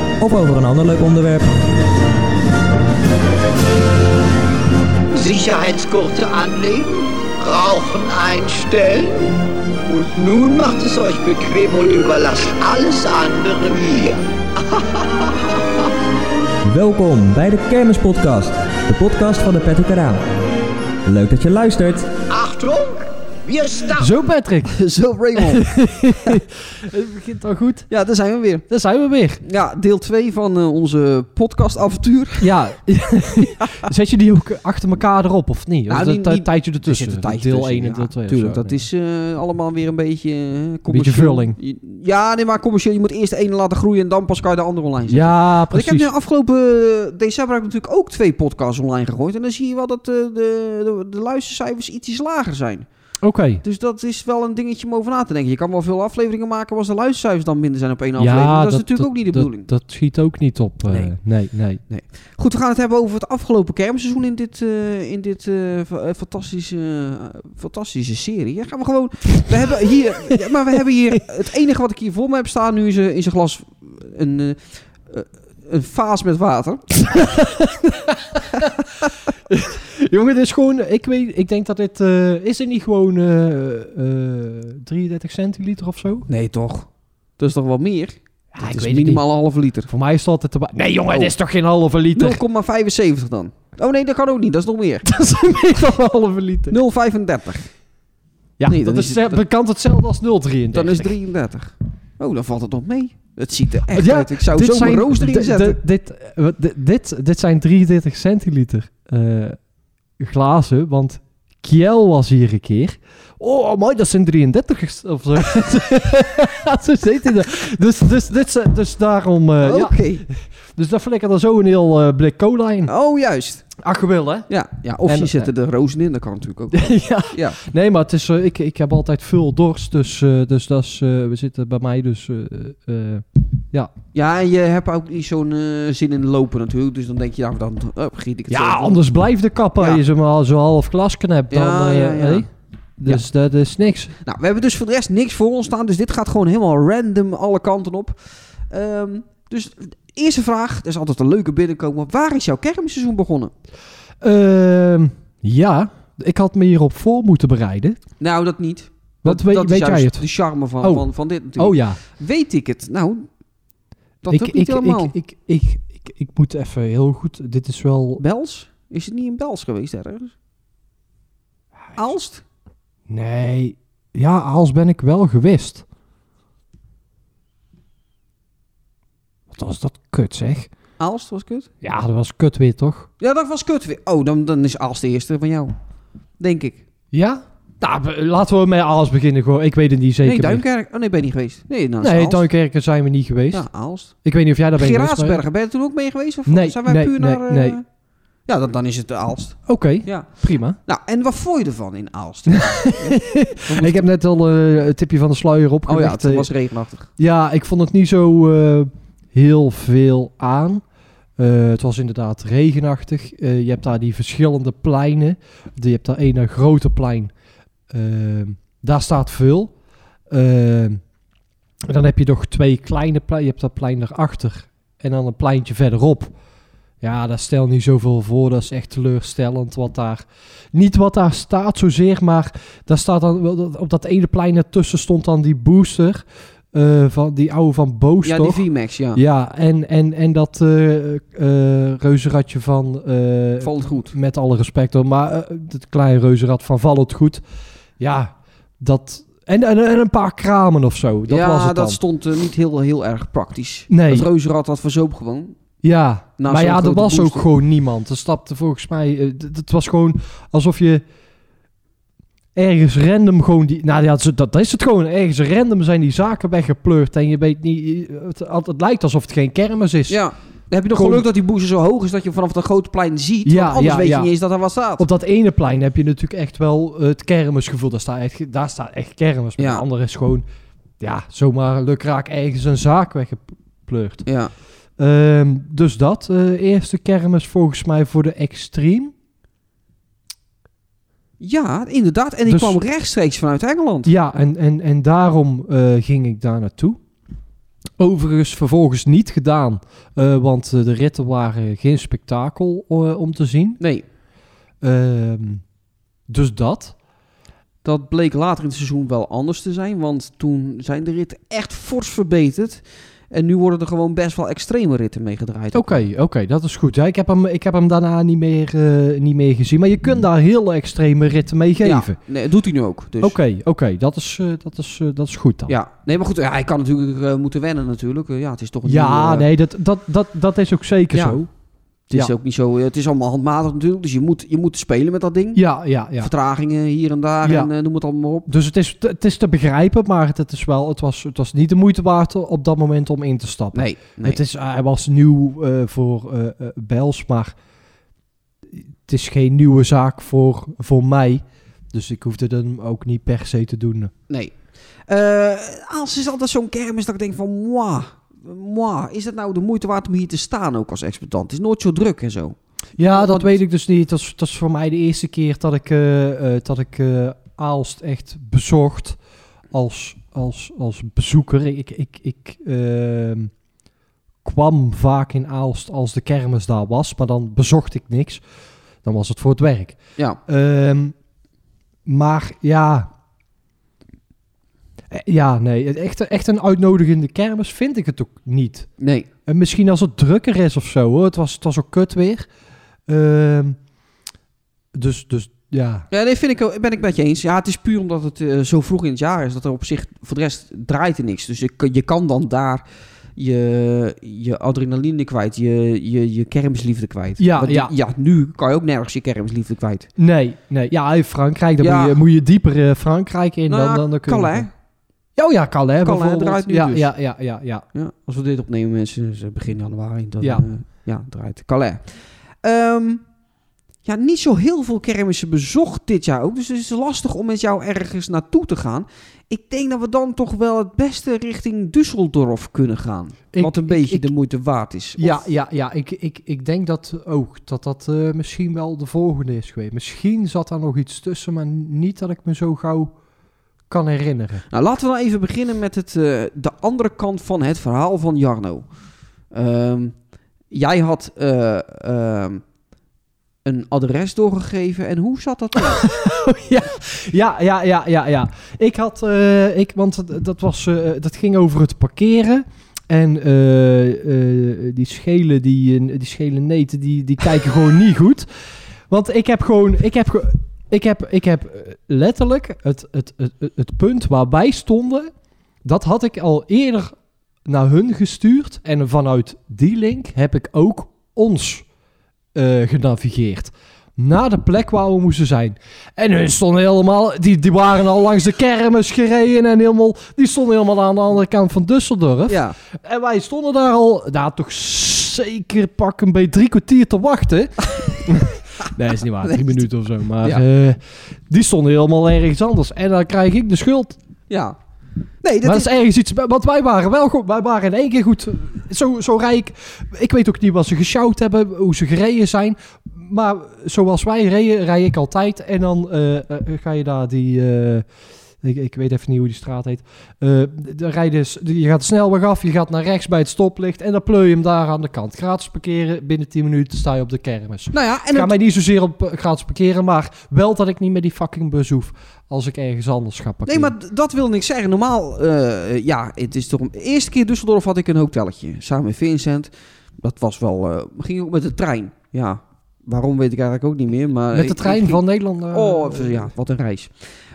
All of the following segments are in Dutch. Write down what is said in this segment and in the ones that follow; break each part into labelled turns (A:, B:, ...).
A: of over een ander leuk onderwerp.
B: Sicherheitsgurte anlegen, Rauchen einstellen. Und nun macht es euch bequem und überlasst alles andere mir.
A: Welkom bij de Kermispodcast, de podcast van de Patrick Eraan. Leuk dat je luistert.
B: Achtung! Wir starten!
C: Zo Patrick,
D: Zo, Raymond.
C: het begint al goed.
D: ja, daar zijn we weer.
C: Daar zijn we weer.
D: Ja, deel 2 van eh, onze podcastavontuur.
C: Ja. Zet je die ook achter elkaar erop of niet? Of
D: Nou,
C: dat
D: niet-
C: tij-
D: niet-
C: tijdje ertussen.
D: Er zit een tijdje
C: eh, Deel
D: tussen,
C: 1 en
D: ja,
C: deel 2.
D: Tuurlijk, dat is eh, allemaal weer een beetje eh, commercieel.
C: vulling.
D: Je- Ja, nee, maar commercieel. Je moet eerst de ene laten groeien en dan pas kan je de andere online zetten.
C: Ja,
D: Want ik
C: precies.
D: heb nu afgelopen eh, december heb ik natuurlijk ook twee podcasts online gegooid. En dan zie je wel dat eh, de, de, de luistercijfers iets lager zijn.
C: Oké.
D: Dus dat is wel een dingetje om over na te denken. Je kan wel veel afleveringen maken als de luistercijfers dan minder zijn op één aflevering. dat, is natuurlijk ook niet de
C: dat-
D: bedoeling.
C: Dat, schiet ook niet op. eh,
D: Nee.
C: nee, nee.
D: Goed, we gaan het hebben over het afgelopen kermseizoen in dit, eh, in dit eh, fa- eh, fantastische, eh, fantastische serie. Ja, gaan we gewoon. We hebben hier, ja, maar we hebben hier het enige wat ik hier voor me heb staan nu is eh, in zijn glas een, eh, eh, een vaas met water.
C: Jongen, dit is gewoon... Ik, weet, ik denk dat dit... eh, is het niet gewoon eh, eh, 33 centiliter of zo?
D: Nee, toch? Dat is toch wel meer?
C: ik
D: dat
C: weet
D: is
C: het
D: minimaal een halve liter.
C: Voor mij is het altijd... erbij- Nee jongen,
D: Oh.
C: dit is toch geen halve liter?
D: 0,75 dan. Oh nee, dat kan ook niet. Dat is nog meer.
C: dat is meer dan een halve liter.
D: 0,35.
C: Ja,
D: Nee,
C: dat
D: dan
C: is,
D: is het-
C: eh, bekend hetzelfde als 0,33.
D: Dan is 33. Oh, dan valt het nog mee. Het ziet er echt
C: Ja,
D: uit. Ik zou zo mijn roos erin
C: d- d-
D: zetten.
C: Dit, eh, wat- dit, dit, dit zijn 33 centiliter eh, glazen, want Kiel was hier een keer. Oh, mooi, dat zijn 33 of zo. zo zit hij er. Dus, dus, dit, zijn- dus daarom, eh,
D: Oké.
C: ja, dus daar flikkert er zo een heel eh, blik cola in.
D: Oh, juist.
C: Ach, je wil, hè?
D: Ja, ja of
C: En-
D: je zet er de rozen in, dat kan natuurlijk ook.
C: ja.
D: Ja.
C: Nee, maar het is, eh, ik, ik heb altijd veel dorst, dus, eh, dus dat is, eh, we zitten bij mij dus... eh, eh,
D: Ja, en je hebt ook niet zo'n eh, zin in lopen natuurlijk. Dus dan denk je, nou, dan oh, giet ik het
C: Ja,
D: zelf op.
C: anders blijft de kapper
D: Ja.
C: je ze maar zo half glas knapt. Dan,
D: Ja,
C: eh,
D: ja, ja.
C: hé? Dus dat is niks.
D: Nou, we hebben dus voor de rest niks voor ons staan. Dus dit gaat gewoon helemaal random alle kanten op. Ehm, dus eerste vraag, dat is altijd een leuke binnenkomen. Waar is jouw kermisseizoen begonnen?
C: Ehm, ja, ik had me hierop voor moeten bereiden.
D: Nou, dat niet.
C: Wat weet,
D: dat
C: weet
D: is
C: jij
D: juist
C: het?
D: de charme van,
C: Oh.
D: van, van dit natuurlijk.
C: Oh ja,
D: Weet ik het? Nou, dat
C: ik,
D: heb ik niet
C: ik,
D: helemaal.
C: ik, ik, ik, ik, ik moet even heel goed. Dit is wel.
D: Bels? Is het niet in Bels geweest ergens? Aalst?
C: Nee, ja, als ben ik wel gewist. Wat was dat kut zeg?
D: Aalst was kut?
C: Ja, dat was kut weer toch?
D: Ja, dat was kut weer. Oh, dan, dan is Als de eerste van jou. Denk ik.
C: Ja? Nou, we- laten we met alles beginnen gewoon. Ik weet het niet zeker.
D: nee,
C: meer.
D: Duinkerk. Oh nee, ben je niet geweest. Nee, nou,
C: Nee,
D: Duinkerk.
C: Duinkerken zijn we niet geweest.
D: Ja, Aalst.
C: Ik weet niet of jij daar bent geweest, maar-
D: Gerardsbergen, ben je er toen ook mee geweest? Of
C: Nee,
D: zijn wij
C: nee,
D: puur
C: nee,
D: naar... eh,
C: nee.
D: Ja, dan, dan is het de Aalst.
C: Oké,
D: Ja.
C: prima.
D: Nou, en wat vond je ervan in Aalst?
C: Ik heb net al eh, het tipje van de sluier
D: oh ja,
C: opgelegd.
D: het
C: Eh,
D: was regenachtig.
C: ja, ik vond het niet zo eh, heel veel aan. Eh, het was inderdaad regenachtig. Eh, je hebt daar die verschillende pleinen. Je hebt daar één eh, grote plein. Ehm, daar staat veel. Ehm, en dan heb je nog twee kleine pleinen. Je hebt dat plein daarachter. En dan een pleintje verderop. Ja, daar stel niet zoveel voor. Dat is echt teleurstellend wat daar... Niet wat daar staat zozeer, maar... Daar staat dan, wel dat- op dat ene plein ertussen stond dan die booster... eh, van die oude van Boos,
D: Ja, die
C: toch?
D: VMAX, ja.
C: Ja, en, en, en dat eh eh, reuzenradje van... eh,
D: Valt goed.
C: met alle respect hoor, maar eh, het kleine reuzenrad van Vallot Goed. Ja, dat... En, en, en een paar kramen of zo, dat
D: ja,
C: was het dan.
D: dat stond eh, niet heel, heel erg praktisch.
C: Nee.
D: Dat reuzenrad had verzoop gewoon.
C: Ja,
D: Na
C: maar
D: zo'n
C: ja, er
D: grote
C: was
D: booster.
C: ook gewoon niemand. Er stapte volgens mij... eh, d- d- Het was gewoon alsof je ergens random gewoon die... Nou ja, dat- dat is het gewoon. Ergens random zijn die zaken weggepleurd en je weet niet... eh, Het, het lijkt alsof het geen kermis is.
D: Ja, heb je nog
C: Kom-
D: geluk dat die boezem zo hoog is dat je hem vanaf dat grote plein ziet.
C: Ja,
D: want anders
C: ja,
D: weet
C: ja.
D: je niet eens dat er wat staat.
C: Op dat ene plein heb je natuurlijk echt wel het kermisgevoel. Daar staat echt, daar staat echt kermis. Maar
D: Ja.
C: de andere is gewoon, ja, zomaar lukraak ergens een zaak weggepleurd.
D: ja.
C: Ehm, dus dat. eh, eerste kermis volgens mij voor de Extreme.
D: ja, inderdaad. En die
C: Dus-
D: kwam rechtstreeks vanuit Engeland.
C: Ja, en, en, en daarom eh, ging ik daar naartoe. Overigens vervolgens niet gedaan, eh, want eh, de ritten waren geen spektakel eh, om te zien.
D: Nee,
C: Ehm, dus dat.
D: dat bleek later in het seizoen wel anders te zijn. Want toen zijn de ritten echt fors verbeterd. En nu worden er gewoon best wel extreme ritten meegedraaid.
C: Oké, oké, dat is goed. Ja, ik, heb hem, ik heb hem daarna niet meer, eh, niet meer gezien. Maar je kunt daar heel extreme ritten mee geven.
D: Hmm. Ja,
C: Oké,
D: nee, dat doet hij nu ook. Dus.
C: oké, dat, is, eh, dat, is, eh, dat is goed dan.
D: Ja, nee, maar goed, ja, hij kan natuurlijk eh, moeten wennen natuurlijk. Eh, ja, het is toch een
C: Ja,
D: nieuwe, eh,
C: nee, dat, dat, dat, dat is ook zeker
D: Ja.
C: zo.
D: Het is
C: ja.
D: ook niet zo. eh, Het is allemaal handmatig natuurlijk. Dus je moet, je moet spelen met dat ding.
C: Ja, ja, ja.
D: Vertragingen hier en daar
C: Ja.
D: en eh, noem het allemaal maar op.
C: Dus het is, het is te begrijpen, maar het, het is wel, het, was, het was niet de moeite waard op dat moment om in te stappen.
D: Nee, nee.
C: Het is, hij was nieuw eh, voor eh eh, Bels, maar het is geen nieuwe zaak voor, voor mij. Dus ik hoefde hem ook niet per se te doen.
D: nee. Eh, als is altijd zo'n kermis dat ik denk van, moi, moi, is dat nou de moeite waard om hier te staan ook als exploitant? Het is nooit zo druk en zo.
C: Ja, dat
D: Want-
C: weet ik dus niet. Dat is, dat is voor mij de eerste keer dat ik, eh, eh, dat ik eh, Aalst echt bezocht als, als, als bezoeker. Ik, ik, ik ehm, kwam vaak in Aalst als de kermis daar was, maar dan bezocht ik niks. Dan was het voor het werk.
D: Ja,
C: Ehm, maar ja. Eh, Ja, nee. Echt, echt een uitnodigende kermis vind ik het ook niet.
D: nee.
C: En misschien als het drukker is of zo. Hoor. Het, was, het was ook kut weer. Ehm, dus, dus ja.
D: Ja, nee, vind ik, ook- ben ik met je eens. Ja, het is puur omdat het eh, zo vroeg in het jaar is dat er op zich voor de rest draait er niks. Dus je, kan- je kan dan daar je, je adrenaline kwijt, je, je, je kermisliefde kwijt.
C: Ja,
D: Want die-
C: ja.
D: ja, nu kan je ook nergens je kermisliefde kwijt.
C: Nee, nee. Ja, in Frankrijk. Dan
D: Ja.
C: Moet, je, moet je dieper eh, Frankrijk in.
D: Nou
C: dan,
D: ja,
C: dan, dan kun je-
D: Calais.
C: Oh ja, Calais.
D: Calais
C: bijvoorbeeld.
D: draait nu
C: ja,
D: dus.
C: ja, ja, ja, ja.
D: Ja, als we dit opnemen, mensen, dus, eh, begin januari, dan
C: Ja.
D: ja. ja, draait Calais. Ehm, ja, niet zo heel veel kermissen bezocht dit jaar ook. Dus het is lastig om met jou ergens naartoe te gaan. Ik denk dat we dan toch wel het beste richting Düsseldorf kunnen gaan.
C: Ik-
D: wat een
C: ik-
D: beetje
C: ik-
D: de moeite waard is. Of-
C: Ja, ja, ja ik, ik, ik denk dat ook. Dat dat eh, misschien wel de volgende is geweest. Misschien zat daar nog iets tussen, maar niet dat ik me zo gauw kan herinneren.
D: Nou, laten we dan even beginnen met het, eh, de andere kant van het verhaal van Jarno. Ehm, jij had eh, ehm, een adres doorgegeven. En hoe zat dat? nou?
C: Ja, ja, ja, ja, ja. Ik had, eh, ik, want dat- dat, was, eh, dat ging over het parkeren. En eh, eh, die schelen, die, eh, die schelen neten, die, die kijken gewoon niet goed. Want ik heb gewoon, ik heb, ge- ik heb, ik heb eh, letterlijk het, het, het, het- het punt waar wij stonden, dat had ik al eerder naar hun gestuurd. En vanuit die link heb ik ook ons eh, genavigeerd. Naar de plek waar we moesten zijn. En hun stonden helemaal, die, die waren al langs de kermis gereden en helemaal, die stonden helemaal aan de andere kant van Düsseldorf.
D: ja.
C: En wij stonden daar al, nou toch zeker pak een beetje drie kwartier te wachten. nee, is niet waar, drie minuten of zo. Maar
D: Ja.
C: eh, die stonden helemaal ergens anders. En dan krijg ik de schuld.
D: Ja. Nee, dat
C: maar
D: is...
C: dat is ergens iets, want wij waren wel goed, wij waren in één keer goed. Zo, zo rijk, ik weet ook niet wat ze gesjouwd hebben, hoe ze gereden zijn. Maar zoals wij reden, rij ik altijd. En dan eh, eh, ga je daar die... eh, ik, ik weet even niet hoe die straat heet. Eh, dan rij je, dus- je gaat de snelweg af, je gaat naar rechts bij het stoplicht... en dan pleur je hem daar aan de kant. Gratis parkeren, binnen 10 minuten sta je op de kermis.
D: Nou ja, en
C: Ik ga
D: het-
C: mij niet zozeer op eh, gratis parkeren... maar wel dat ik niet met die fucking bus hoef... als ik ergens anders ga
D: Nee,
C: parkeren.
D: maar d- dat wil niks zeggen. Normaal, eh, ja, het is toch... een- Eerste keer in Düsseldorf had ik een hotelletje. Samen met Vincent. Dat was wel... eh, ging ook met de trein. Ja, waarom weet ik eigenlijk ook niet meer. Maar
C: Met de
D: Eh, ik-
C: trein
D: ik ging-
C: van Nederland eh, naar...
D: Oh, ja, wat een reis.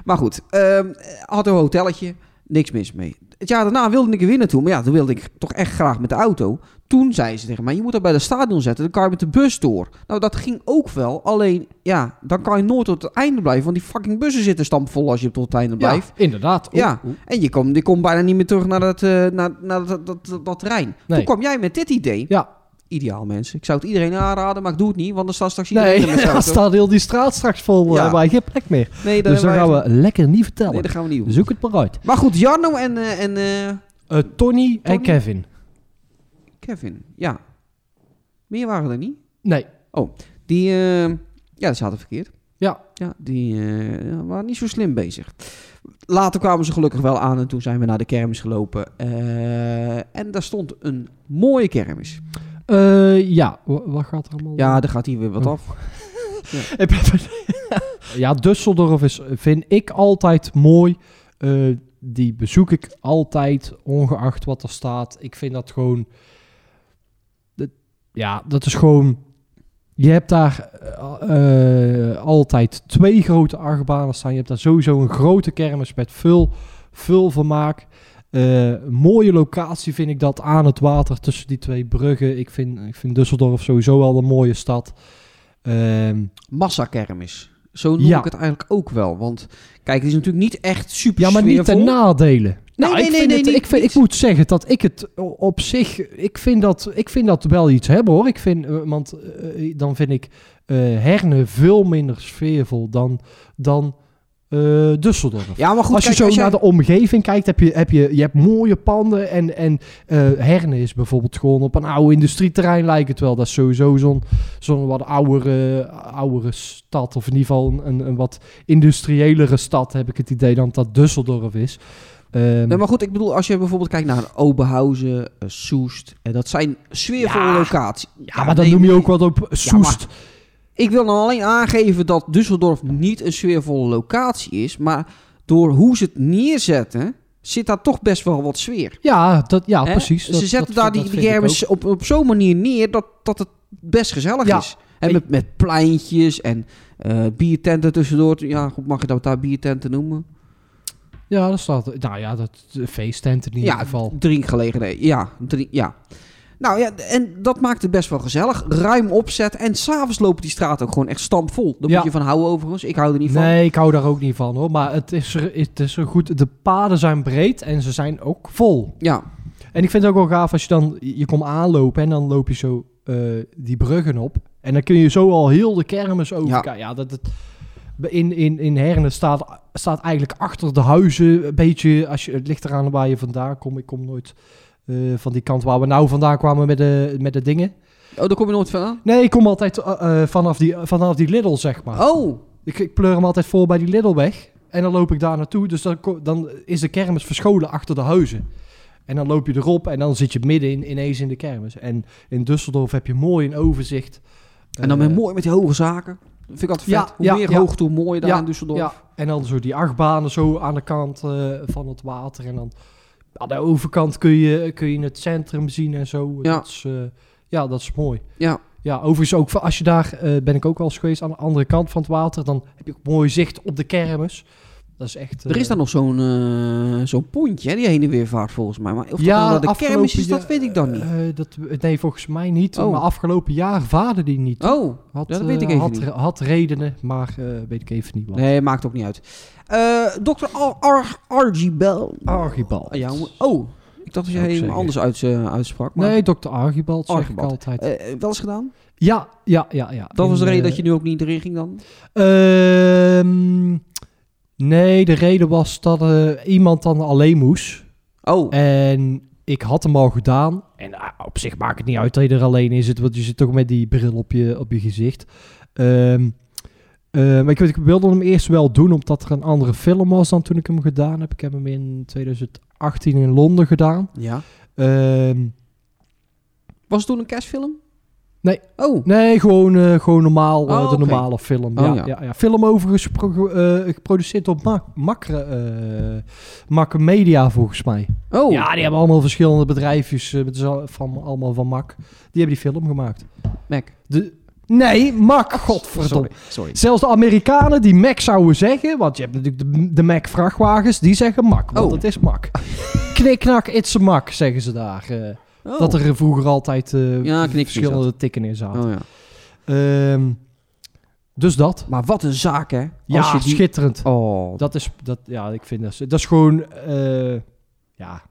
D: Maar goed, ehm, had een hotelletje, niks mis mee. Het jaar daarna wilde ik er weer naartoe, maar ja, toen wilde ik toch echt graag met de auto. Toen zei ze tegen mij, je moet dat bij het stadion zetten, dan kan je met de bus door. Nou, dat ging ook wel, alleen ja, dan kan je nooit tot het einde blijven, want die fucking bussen zitten stampvol als je tot het einde
C: Ja,
D: blijft.
C: inderdaad. Oeh,
D: Ja.
C: oeh.
D: En je komt je komt bijna niet meer terug naar dat, eh, naar, naar dat, dat, dat, dat terrein.
C: Nee.
D: Toen kwam jij met dit idee.
C: Ja.
D: ideaal, mensen. Ik zou het iedereen aanraden, maar ik doe het niet, want dan staat straks iedereen in
C: Nee,
D: mijn
C: dan
D: auto.
C: staat heel die straat straks vol,
D: Ja.
C: ja. maar geen plek meer.
D: Nee, daar
C: Dus dat gaan
D: hebben wij-
C: we lekker niet vertellen.
D: Nee, dat gaan we niet doen.
C: Zoek het Nou, maar Dus- uit.
D: Maar goed, Jarno en, eh, en eh,
C: Eh, Tony en
D: Tony?
C: Kevin.
D: Kevin, ja. Meer waren er niet.
C: Nee,
D: Die, eh, ja, die zaten verkeerd.
C: Ja.
D: Ja, die eh, waren niet zo slim bezig. Later kwamen ze gelukkig wel aan en toen zijn we naar de kermis gelopen. Eh, en daar stond een mooie kermis.
C: Eh, ja. Wa- Wat gaat er allemaal?
D: Ja, daar gaat hier weer wat
C: Oh.
D: af.
C: Ik ben- ja, Düsseldorf is, vind ik altijd mooi. Eh, die bezoek ik altijd, ongeacht wat er staat. Ik vind dat gewoon... dat- ja, dat is gewoon... Je hebt daar eh, eh, altijd twee grote achtbanen staan. Je hebt daar sowieso een grote kermis met veel, veel vermaak. Eh, mooie locatie vind ik dat aan het water tussen die twee bruggen. Ik vind, ik vind Düsseldorf sowieso wel een mooie stad. Ehm
D: Massakermis. Zo noem
C: Ja.
D: ik het eigenlijk ook wel. Want kijk, het is natuurlijk niet echt super
C: Ja, maar niet ten
D: sfeervol.
C: nadelen.
D: Nee, nee,
C: Nou, ik
D: nee,
C: vind
D: nee,
C: het-
D: niet-
C: ik, vind, ik
D: niet.
C: moet zeggen dat ik het o- op zich... Ik vind dat, ik vind dat wel iets hebben, hoor. Ik vind, eh, want eh, dan vind ik eh Herne veel minder sfeervol dan, dan eh Düsseldorf.
D: Ja, maar goed,
C: als je
D: kijk,
C: zo
D: jij-
C: naar de omgeving kijkt, heb je, heb je, je hebt mooie panden. En, en eh, Herne is bijvoorbeeld gewoon op een oude industrieterrein lijkt het wel. Dat is sowieso zo'n zo'n wat oudere, oudere stad. Of in ieder geval een, een, een wat industriëlere stad, heb ik het idee, dan dat Düsseldorf is. Ehm,
D: Nee, maar goed, ik bedoel, als je bijvoorbeeld kijkt naar Oberhausen, eh, Soest, eh, dat zijn sfeervolle
C: Ja.
D: locaties.
C: ja, maar dan noem je ook wat op Soest.
D: Ik wil nou alleen aangeven dat Düsseldorf niet een sfeervolle locatie is, maar door hoe ze het neerzetten, zit daar toch best wel wat sfeer.
C: ja, dat, ja
D: Hè?
C: Ah, precies.
D: Ze
C: Dat-
D: zetten
C: dat-
D: daar
C: dat
D: die, die
C: vind ik ook.
D: kermis op, op zo'n manier neer dat, dat het best gezellig
C: Ja.
D: is. En met, met pleintjes en eh, biertenten tussendoor. Ja, goed, mag je dat daar biertenten noemen?
C: Ja, dat staat... Nou ja, dat de feesttenten in ieder
D: ja,
C: geval.
D: drinkgelegenheid. Ja, drink, ja. Nou ja, en dat maakt het best wel gezellig. Ruim opzet. En s'avonds lopen die straat ook gewoon echt stampvol. Daar
C: Ja.
D: moet je van houden overigens. Ik hou er niet van.
C: Nee, ik hou daar ook niet van hoor. Maar het is, er, het is er goed. De paden zijn breed en ze zijn ook vol.
D: Ja,
C: En ik vind het ook wel gaaf als je dan... Je komt aanlopen en dan loop je zo eh, die bruggen op. En dan kun je zo al heel de kermis overkijken. Ja, dat... dat in, in, in Herne staat, staat eigenlijk achter de huizen een beetje... Als je, het ligt eraan waar je vandaan komt. Ik kom nooit eh, van die kant waar we nou vandaan kwamen met de, met de dingen.
D: Oh, daar kom je nooit van aan?
C: Nee, ik kom altijd eh, eh, vanaf, die, vanaf die Lidl, zeg maar.
D: Oh,
C: Ik, ik pleur hem altijd vol bij die Lidlweg. En dan loop ik daar naartoe. Dus dan, ko- dan is de kermis verscholen achter de huizen. En dan loop je erop en dan zit je midden in, ineens in de kermis. En in Düsseldorf heb je mooi een overzicht.
D: en dan
C: Eh,
D: met, mooi met die hoge zaken. Dat vind ik altijd vet.
C: Ja,
D: hoe
C: ja,
D: meer
C: ja.
D: hoogte, hoe mooier daar
C: Ja,
D: in Düsseldorf.
C: Ja, en dan zo die achtbanen zo aan de kant eh, van het water. En dan aan de overkant kun je, kun je het centrum zien en zo.
D: Ja.
C: Dat is, eh, ja, dat is mooi.
D: Ja.
C: Ja, overigens ook, va- als je daar, eh, ben ik ook wel eens geweest, aan de andere kant van het water, dan heb je ook mooi zicht op de kermis. Dat is echt...
D: Er is
C: eh,
D: dan nog zo'n eh, zo'n pontje, hè, die heen en weer vaart volgens mij. Maar of dat nou naar de
C: afgelopen
D: kermis is, dat
C: ja-
D: weet ik dan niet.
C: eh, dat, nee, volgens mij niet.
D: Oh.
C: Maar afgelopen jaar vaarde die niet.
D: oh,
C: Had,
D: ja, dat weet ik
C: eh,
D: even
C: had,
D: niet.
C: re- had redenen, maar eh, weet ik even niet wat.
D: nee, maakt ook niet uit. Eh Dr. Ar Ar Archibald.
C: Archibald.
D: Ja, hoe- oh, ik dacht dat jij
C: Zou ik
D: hem anders uit, eh, uitsprak. Maar,
C: Nee, dokter Archibald, zeg
D: Archibald.
C: ik altijd.
D: Eh, eh, wel eens gedaan?
C: ja, ja, ja, ja.
D: Dat was de
C: En,
D: reden
C: eh,
D: dat je nu ook niet erin ging dan?
C: ehm, nee, de reden was dat eh, iemand dan alleen moest.
D: Oh,
C: En ik had hem al gedaan. En ah, op zich maakt het niet uit dat je er alleen in zit. Want je zit toch met die bril op je, op je gezicht. Ehm, eh, maar ik, weet, ik wilde hem eerst wel doen. Omdat er een andere film was dan toen ik hem gedaan heb. Ik heb hem in 2018 in Londen gedaan.
D: ja.
C: Ehm,
D: Was het toen een kerstfilm?
C: Nee.
D: Oh,
C: nee, gewoon, eh, gewoon normaal. eh,
D: Oh,
C: de
D: oké.
C: normale film.
D: Oh,
C: ja,
D: ja.
C: ja. Ja, Film overigens pro- eh, geproduceerd door Mak Makre, eh, Makke Media volgens mij.
D: oh.
C: Ja, die hebben allemaal verschillende bedrijfjes eh, met zo- van, allemaal van Mac. Die hebben die film gemaakt.
D: Mac.
C: De, nee, Mac,
D: Oh,
C: godverdomme.
D: Sorry, sorry.
C: Zelfs de Amerikanen die Mac zouden zeggen, want je hebt natuurlijk de, de Mac vrachtwagens, die zeggen Mac, want
D: Oh.
C: het is Mac. Kniknak, it's a Mac, zeggen ze daar. eh,
D: Oh.
C: Dat er vroeger altijd eh,
D: Ja, knikjes
C: verschillende tikken in zaten.
D: Oh, ja.
C: Ehm, dus dat.
D: Maar wat een zaak, hè? Als
C: Ja,
D: je die-
C: schitterend.
D: Oh,
C: Dat is, dat, ja, ik vind dat, dat is gewoon, eh, ja.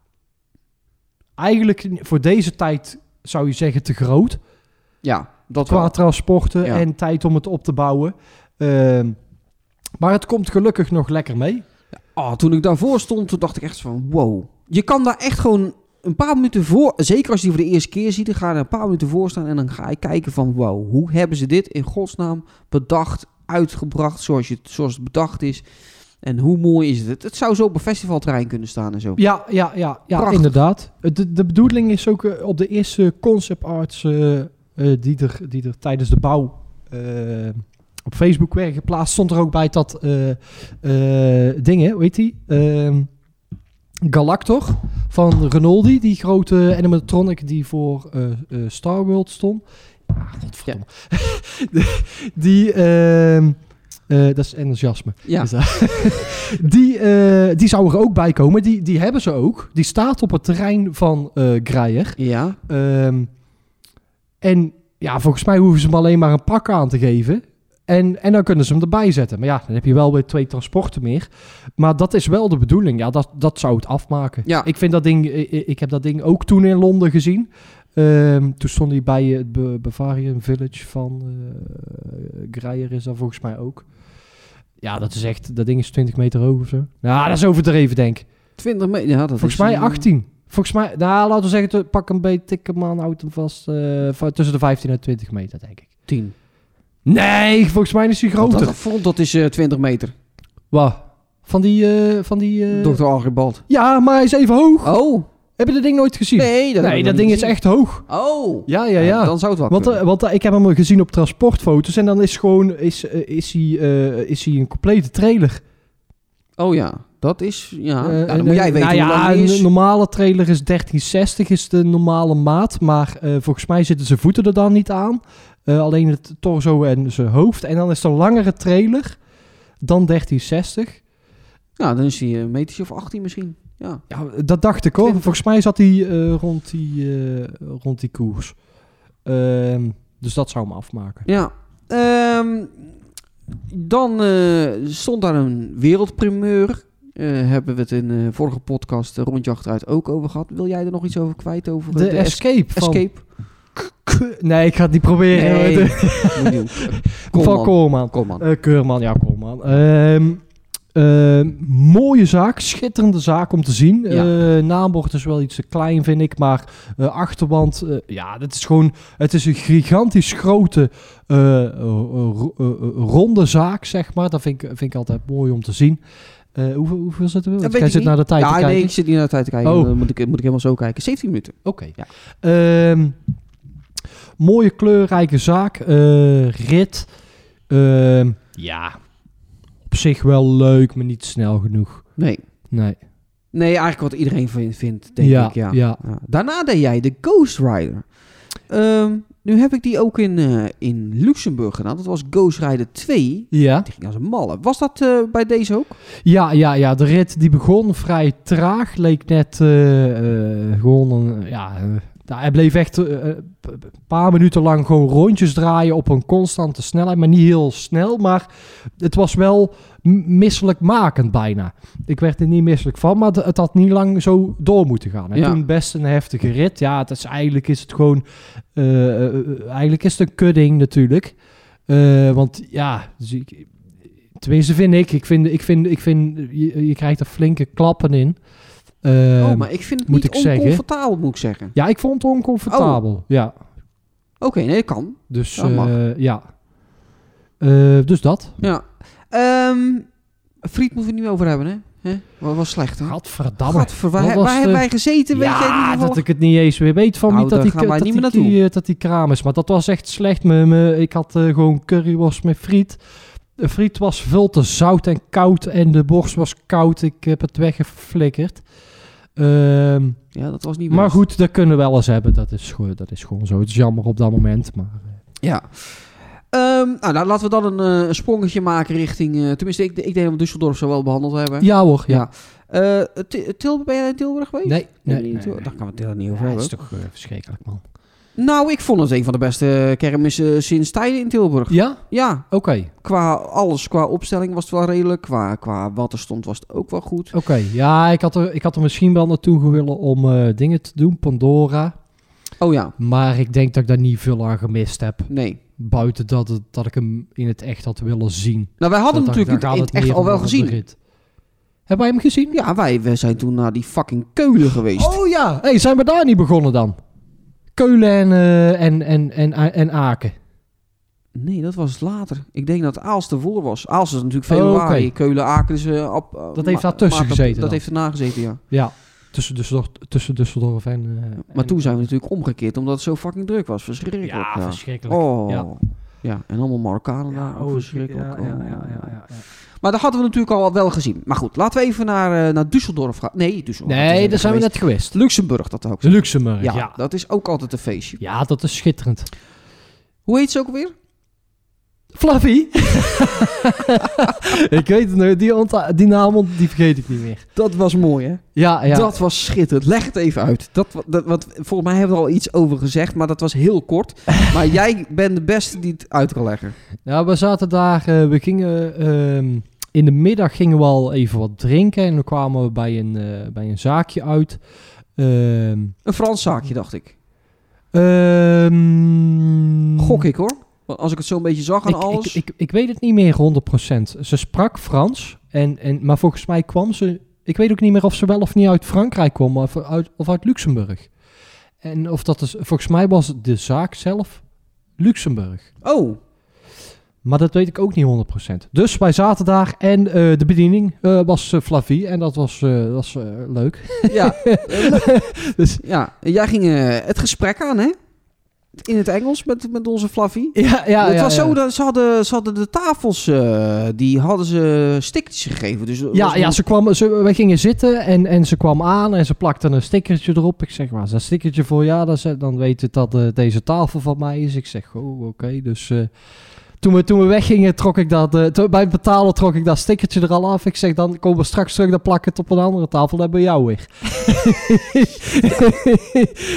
C: Eigenlijk voor deze tijd zou je zeggen, te groot.
D: Ja, dat
C: Qua
D: wel.
C: transporten
D: Ja.
C: en tijd om het op te bouwen. Ehm, maar het komt gelukkig nog lekker mee.
D: Ah, toen ik daarvoor stond, toen dacht ik echt van wow. Je kan daar echt gewoon een paar minuten voor, zeker als je die voor de eerste keer ziet, dan ga je er een paar minuten voor staan en dan ga je kijken van wow, hoe hebben ze dit in godsnaam bedacht, uitgebracht zoals, je, zoals het bedacht is. En hoe mooi is het? Het zou zo op een festivalterrein kunnen staan en zo.
C: Ja, ja, ja, ja
D: Prachtig.
C: inderdaad. Eh, De, de bedoeling is ook eh, op de eerste concept arts eh, eh, die, er, die er tijdens de bouw eh, op Facebook werden geplaatst, stond er ook bij dat eh, eh, dingen, hoe heet die? Ehm, Galactor van Renoldi, die grote animatronic die voor eh eh, Star World stond. Ah, godverdomme. die, ehm, eh, dat is enthousiasme.
D: Ja,
C: Is dat- Dus, eh, die, eh, die zou er ook bij komen. Die, die hebben ze ook. Die staat op het terrein van eh Grijer.
D: ja.
C: Ehm, en ja, volgens mij hoeven ze hem alleen maar een pak aan te geven. En, en dan kunnen ze hem erbij zetten. Maar ja, dan heb je wel weer twee transporten meer. Maar dat is wel de bedoeling. Ja, dat, dat zou het afmaken.
D: Ja.
C: Ik vind dat ding, i- i- ik heb dat ding ook toen in Londen gezien. Ehm, toen stond hij bij het Be- Bavarian Village van eh Grijer is dat volgens mij ook. Ja, dat is echt, dat ding is 20 meter hoog of zo. Nou, dat is overdreven denk ik.
D: 20 meter. Ja, dat
C: Volgens
D: is,
C: mij
D: eh,
C: 18. Volgens mij, nou laten we zeggen, te- pak een beetje tikke man, houd hem vast. eh, va- tussen de 15 en 20 meter, denk ik.
D: 10.
C: Nee, volgens mij is hij
D: Dat,
C: groter.
D: dat front, dat is eh, 20 meter.
C: Wat? Van die, eh, van die... eh,
D: Dr. Archibald.
C: Ja, maar hij is even hoog.
D: Oh,
C: Heb je dat ding nooit gezien?
D: nee. Dat,
C: Nee,
D: heb ik
C: dat
D: nog
C: ding
D: niet
C: is echt hoog.
D: gezien. Oh.
C: Ja, ja, ja.
D: Dan zou het wel
C: Want, eh,
D: kunnen.
C: want eh, ik heb hem gezien op transportfoto's en dan is gewoon, is, eh, is, hij, eh, is hij een complete trailer.
D: Oh ja, dat is... Ja,
C: Eh,
D: ja dan
C: en,
D: moet
C: eh,
D: jij weten
C: nou
D: hoe lang
C: ja,
D: die is.
C: Een normale trailer is 1360, is de normale maat. Maar eh, volgens mij zitten zijn voeten er dan niet aan. Eh, alleen het torso en zijn hoofd. En dan is er een langere trailer dan 1360.
D: Nou, dan is hij een metertje of 18 misschien. Ja.
C: Ja, dat dacht ik hoor.
D: 20.
C: Volgens mij zat hij eh, rond, die, eh, rond die koers. Ehm, dus dat zou hem afmaken.
D: ja. Ehm, dan eh, stond daar een wereldprimeur. Eh, hebben we het in de vorige podcast eh, Rondje Achteruit ook over gehad. Wil jij er nog iets over kwijt? Over
C: De,
D: eh, es-
C: escape. Van...
D: Escape?
C: Nee, ik ga het niet proberen.
D: Nee,
C: De-
D: moet niet doen.
C: Van
D: Koolman.
C: Koolman.
D: Koolman.
C: Eh, Keurman, ja, Koolman. Ehm, ehm, mooie zaak, schitterende zaak om te zien. Eh, naambord is wel iets te klein, vind ik. Maar eh, achterwand, eh, ja, dat is gewoon... Het is een gigantisch grote, eh, eh, ro- eh, eh, ronde zaak, zeg maar. Dat vind ik, vind ik altijd mooi om te zien. Eh, hoeveel, hoeveel zitten we?
D: Dat weet
C: Want jij
D: ik
C: zit
D: niet.
C: naar de tijd
D: ja,
C: te
D: nee,
C: kijken.
D: ik zit niet naar de tijd te kijken.
C: Oh.
D: Dan moet ik, moet ik helemaal zo kijken. 17 minuten.
C: Oké.
D: Ja.
C: Ehm, mooie kleurrijke zaak. eh, rit. Ehm, ja. Op zich wel leuk, maar niet snel genoeg.
D: Nee.
C: Nee.
D: Nee, eigenlijk wat iedereen vin- vindt, denk
C: Ja,
D: ik. Ja.
C: ja.
D: Daarna deed jij de Ghost Rider. Ehm, nu heb ik die ook in, eh, in Luxemburg gedaan. Dat was Ghost Rider 2.
C: Ja.
D: Die ging als een malle. Was dat eh, bij deze ook?
C: Ja, ja, ja. De rit die begon vrij traag. Leek net eh, eh, gewoon een... Ja, eh, nou, hij bleef echt eh, eh, een paar minuten lang gewoon rondjes draaien op een constante snelheid. Maar niet heel snel, maar het was wel m- misselijkmakend bijna. Ik werd er niet misselijk van, maar het had niet lang zo door moeten gaan. En
D: Ja.
C: toen best een heftige rit. Ja, het is, eigenlijk is het gewoon... eh, eh, eh, eigenlijk is het een kudding natuurlijk. Eh, want ja, dus ik- tenminste vind ik, ik vind, ik vind, ik vind je, je krijgt er flinke klappen in. Eh,
D: oh, maar ik vind het
C: moet
D: niet
C: ik zeggen?
D: oncomfortabel, moet ik zeggen.
C: Ja, ik vond het oncomfortabel. Ja,
D: Oké, nee, dat kan.
C: dus
D: Oh. Dat mag.
C: eh, ja. Eh, dus dat.
D: Ja. Ehm Friet moeten we het niet over hebben, hè? Hè? Wat was slecht, hè?
C: Gadverdamme.
D: Gadver, waar,
C: Dat
D: he-
C: was
D: waar hebben
C: de-
D: wij gezeten? weet jij
C: ja,
D: niet
C: dat ik het niet eens weer weet van
D: Nou,
C: wie dat
D: daar
C: die,
D: gaan wij
C: dat,
D: niet
C: die,
D: meer
C: die, eh, dat die kraam is. Maar dat was echt slecht. Me, me- ik had eh, gewoon curryworst met friet. De friet was veel te zout en koud. En de borst was koud. Ik heb het weggeflikkerd. Ehm
D: Ja, dat was niet
C: Maar
D: best.
C: goed, dat kunnen we wel eens hebben. Dat is, gewoon- dat is gewoon zo. Het is jammer op dat moment. Maar
D: Ja. Ehm, nou, nou, laten we dan een, eh, een sprongetje maken richting... eh, tenminste, ik, ik denk dat we Düsseldorf zo wel behandeld hebben.
C: ja hoor, ja.
D: Ja. Eh, Til- Til- ben jij in Tilburg geweest?
C: Nee, nee,
D: niet
C: nee,
D: in Tilburg. Daar kan we het helemaal niet over
C: Ja, het
D: hebben.
C: is toch eh, verschrikkelijk, man.
D: Nou, ik vond het een van de beste kermissen sinds tijden in Tilburg.
C: Ja?
D: Ja,
C: Oké,
D: qua alles, qua opstelling was het wel redelijk. Qua, qua wat er stond was het ook wel goed.
C: oké. Ja, ik had, er, ik had er misschien wel naartoe gewillen om eh, dingen te doen. Pandora.
D: Oh ja,
C: Maar ik denk dat ik daar niet veel aan gemist heb.
D: nee.
C: Buiten dat, het- dat ik hem in het echt had willen zien.
D: Nou, wij hadden hem
C: Dat- daar
D: natuurlijk in
C: gaat
D: het echt
C: meer
D: al wel
C: om dan de
D: gezien.
C: rit. Hebben wij hem gezien?
D: Ja, wij, wij zijn toen naar die fucking Keulen geweest.
C: Oh ja, hey, zijn we daar niet begonnen dan? Keulen en, eh, en, en, en, en Aken.
D: Nee, dat was later. Ik denk dat Aals ervoor was. Aals is natuurlijk
C: Oh,
D: februari.
C: oké.
D: Keulen, Aken is... eh, ap- eh,
C: Dat heeft
D: ma-
C: daartussen
D: maart, ap-
C: gezeten
D: Dat
C: dan.
D: heeft erna gezeten, ja.
C: Ja, tussen Düsseldorf, tussen Düsseldorf en... eh,
D: Maar
C: en-
D: toen zijn we natuurlijk omgekeerd, omdat het zo fucking druk was. Verschrikkelijk.
C: Ja,
D: Ja,
C: verschrikkelijk.
D: Oh.
C: Ja.
D: Ja. en allemaal Marokkanen
C: Ja,
D: daar.
C: oh,
D: ook verschrikkelijk.
C: ja, ja,
D: Oh.
C: ja, ja, ja.
D: Maar dat hadden we natuurlijk al wel gezien. Maar goed, laten we even naar, eh, naar Düsseldorf gaan. Nee, Düsseldorf.
C: Nee, daar zijn we
D: geweest.
C: net geweest.
D: Luxemburg, dat ook.
C: Luxemburg,
D: Ja,
C: ja. ja.
D: dat is ook altijd een feestje.
C: dat is schitterend.
D: Hoe heet ze ook weer?
C: Fluffy! ik weet het nu, die, onta- die naam ont- die vergeet ik niet meer.
D: Dat was mooi, hè?
C: Ja, ja.
D: Dat was schitterend. Leg het even uit. Dat, wa- dat, want volgens mij hebben we er al iets over gezegd, maar dat was heel kort. maar jij bent de beste die het uit kan leggen.
C: Nou, we zaten daar, eh, we gingen ehm, in de middag gingen we al even wat drinken en dan kwamen we bij een, eh, bij een zaakje uit. Ehm,
D: Een Frans zaakje, dacht ik.
C: ehm,
D: Gok ik, hoor. Want als ik het zo een beetje zag aan
C: ik,
D: alles...
C: ik, ik, ik weet het niet meer 100%. Ze sprak Frans, en, en, maar volgens mij kwam ze, ik weet ook niet meer of ze wel of niet uit Frankrijk kwam, maar of uit, of uit Luxemburg. En of dat is, volgens mij was de zaak zelf Luxemburg.
D: Oh,
C: Maar dat weet ik ook niet 100%. Dus wij zaten daar en eh, de bediening eh, was eh, Flavie en dat was, eh, dat was eh, leuk.
D: ja.
C: Dus-
D: ja. En Jij ging eh, het gesprek aan, hè? In het Engels met, met onze Flavie.
C: Ja, ja,
D: het was zo dat ze hadden, ze hadden de tafels, eh, die hadden ze stickertjes gegeven. Dus dat was
C: Ja, ja
D: een-
C: ze kwam, ze, wij gingen zitten en, en ze kwam aan en ze plakte een stickertje erop. Ik zeg, waar is dat stickertje voor? Ja, dan, ze- dan weet het dat eh, deze tafel van mij is. Ik zeg, oh, oké. Dus eh, toen, we, toen we weggingen, trok ik dat, eh, toen- bij het betalen trok ik dat stickertje er al af. Ik zeg, dan komen we straks terug, dan plak ik het op een andere tafel. Dan hebben we jou weer.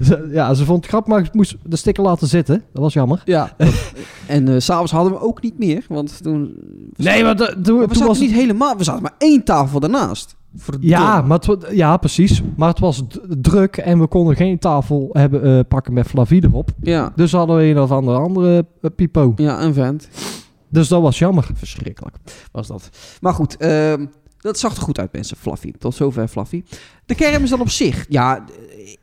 C: Ze- ja, ze vond het grap, maar ik moest de sticker laten zitten. Dat was jammer.
D: Ja. en eh, s s'avonds hadden we ook niet meer, want toen...
C: Nee, maar de- toen,
D: we
C: toen
D: zaten
C: was
D: niet helemaal... We zaten maar één tafel daarnaast. Verdomme.
C: Ja, maar het, wa- ja, precies. Maar het was d- druk en we konden geen tafel hebben, eh, pakken met Flavie erop.
D: Ja.
C: Dus hadden we een of andere, andere eh, pipo.
D: Ja, een vent.
C: Dus dat was jammer.
D: Verschrikkelijk was dat. Maar goed, ehm, dat zag er goed uit, mensen. Fluffy. Tot zover Fluffy. De kerm is dan op zich. Ja, eh,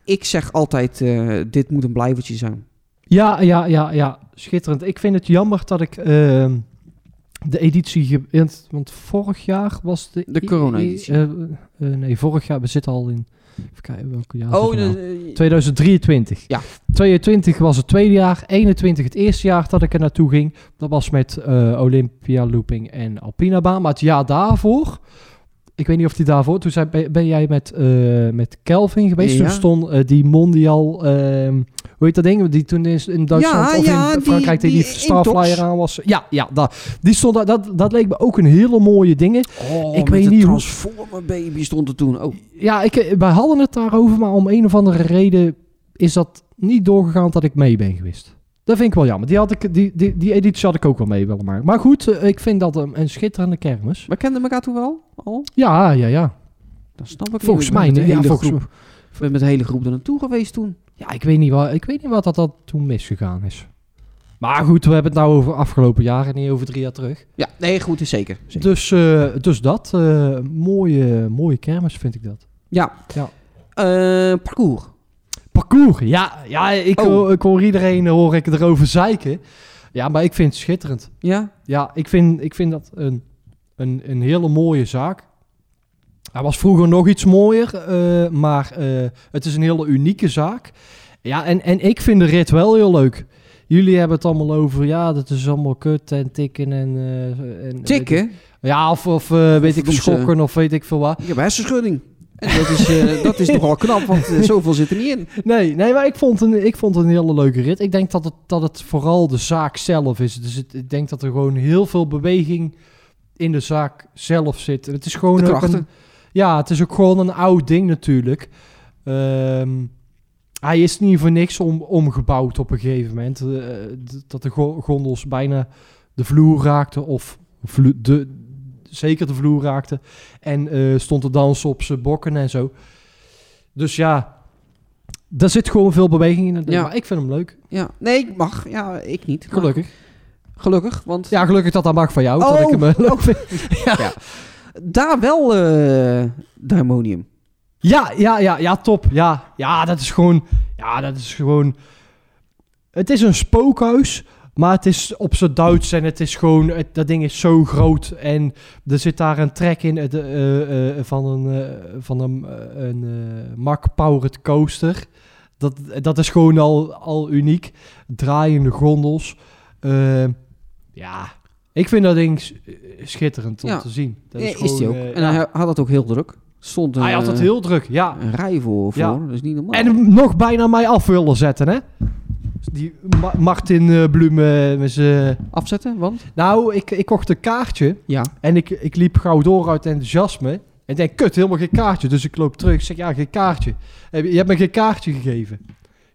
D: ik zeg altijd, eh, dit moet een blijvertje zijn.
C: Ja, ja, ja, ja. Schitterend. Ik vind het jammer dat ik ehm, de editie... ge- want- Want vorig jaar was de...
D: De corona-editie.
C: eh, eh, eh, nee, vorig jaar. We zitten al in... Even kijken welke jaar zitten we nou?
D: Oh, de,
C: 2023.
D: Ja.
C: 22 was het tweede jaar. 21 het eerste jaar dat ik er naartoe ging. Dat was met eh, Olympia Looping en Alpina Baan. Maar het jaar daarvoor... Ik weet niet of die daarvoor... Toen zijn, ben, ben jij met, eh, met Kelvin geweest.
D: Ja.
C: Toen stond eh, die mondial... ehm, hoe heet dat ding? Die toen is in Duitsland
D: Ja,
C: of
D: ja,
C: in
D: die-
C: Frankrijk... Die, die,
D: die
C: Starflyer
D: intox.
C: aan was. Ja, ja dat, die stond, daar- dat, dat leek me ook een hele mooie dingen.
D: oh,
C: ik
D: ik
C: weet
D: weet de
C: niet hoe-
D: Transformer Baby stond er toen. Oh,
C: Ja, ik, eh, wij hadden het daarover, maar om een of andere reden is dat niet doorgegaan dat ik mee ben geweest. Dat vind ik wel jammer. Die, had ik, die, die, die editie had ik ook wel mee willen maken. Maar goed, eh, ik vind dat een, een schitterende kermis.
D: we kenden elkaar toen wel al?
C: Ja, ja, ja.
D: Dat snap ik niet.
C: Volgens
D: Ik ben
C: mij,
D: met de
C: nee, ja,
D: hele
C: volgens
D: groep- Ik ben met de hele groep er naartoe geweest toen.
C: Ja, Ah, ik weet niet, waar, ik weet niet wat dat, dat toen misgegaan is. Maar goed, we hebben het nou over afgelopen jaar en niet over drie jaar terug.
D: Ja, nee, goed, is zeker. zeker.
C: Dus, eh, dus dat, eh, mooie, mooie kermis vind ik dat.
D: Ja.
C: Ja.
D: Eh, parcours.
C: Parcours, ja, ja ik,
D: Oh.
C: hoor, ik hoor iedereen hoor ik erover zeiken. Ja, maar ik vind het schitterend.
D: Ja.
C: Ja, ik vind, ik vind dat een, een, een hele mooie zaak. Hij was vroeger nog iets mooier, eh, maar eh, het is een hele unieke zaak. Ja, en, en ik vind de rit wel heel leuk. Jullie hebben het allemaal over, ja, dat is allemaal kut en tikken en... eh, en weet ik-
D: Tikken.
C: ja, of, of eh, weet ik,
D: doen ze-
C: schokken of weet ik veel wat.
D: Ik heb hersenschudding. En dat is, eh dat is nogal knap, want eh, zoveel zit er niet in.
C: Nee, nee maar ik vond, een, ik vond een hele leuke rit. Ik denk dat het, dat het vooral de zaak zelf is. Dus het- ik denk dat er gewoon heel veel beweging in de zaak zelf zit. Het is gewoon
D: De
C: ook
D: krachten.
C: een, ja, het is ook gewoon een oud ding natuurlijk. Ehm, hij is niet voor niks om, omgebouwd op een gegeven moment. Eh, d- dat de go- gondels bijna de vloer raakten of vlo- de, zeker de vloer raakten. En eh, stond te dansen op zijn bokken en zo. Dus ja, Daar zit gewoon veel beweging in.
D: Ja.
C: Ja. Maar ik vind hem leuk.
D: Ja. Nee, ik mag. Ja, ik niet. Maar
C: Gelukkig.
D: Gelukkig, want
C: Ja, gelukkig dat dat mag van jou.
D: Oh.
C: Dat ik hem eh, leuk vind.
D: daar wel eh Daimonium.
C: Ja, ja, ja, ja, top. Ja, ja, dat is gewoon... Ja, dat is gewoon... Het is een spookhuis, maar het is op zijn Duits en het is gewoon... het- dat ding is zo groot en er zit daar een trek in het, eh, eh, van een, eh, van een, eh, een eh, Mack Powered Coaster. Dat, dat is gewoon al, al uniek. Draaiende gondels. Eh, ja, ik vind dat ding s- eh, schitterend om
D: Ja.
C: te zien. Dat
D: Eh, is die ook.
C: gewoon, eh,
D: en hij eh, had het ook heel druk. Stond een,
C: hij had het heel druk, ja.
D: een rij voor, voor.
C: Ja.
D: Dat is niet normaal.
C: En hem nog bijna mij af willen zetten, hè? Die Ma- Martin eh, Bloem eh, met z'n-
D: Afzetten, want?
C: Nou, ik, ik kocht een kaartje
D: Ja.
C: en ik, ik liep gauw door uit enthousiasme. En ik denk, kut, helemaal geen kaartje. Dus ik loop terug, ik zeg, ja, geen kaartje. Heb Je je hebt me geen kaartje gegeven.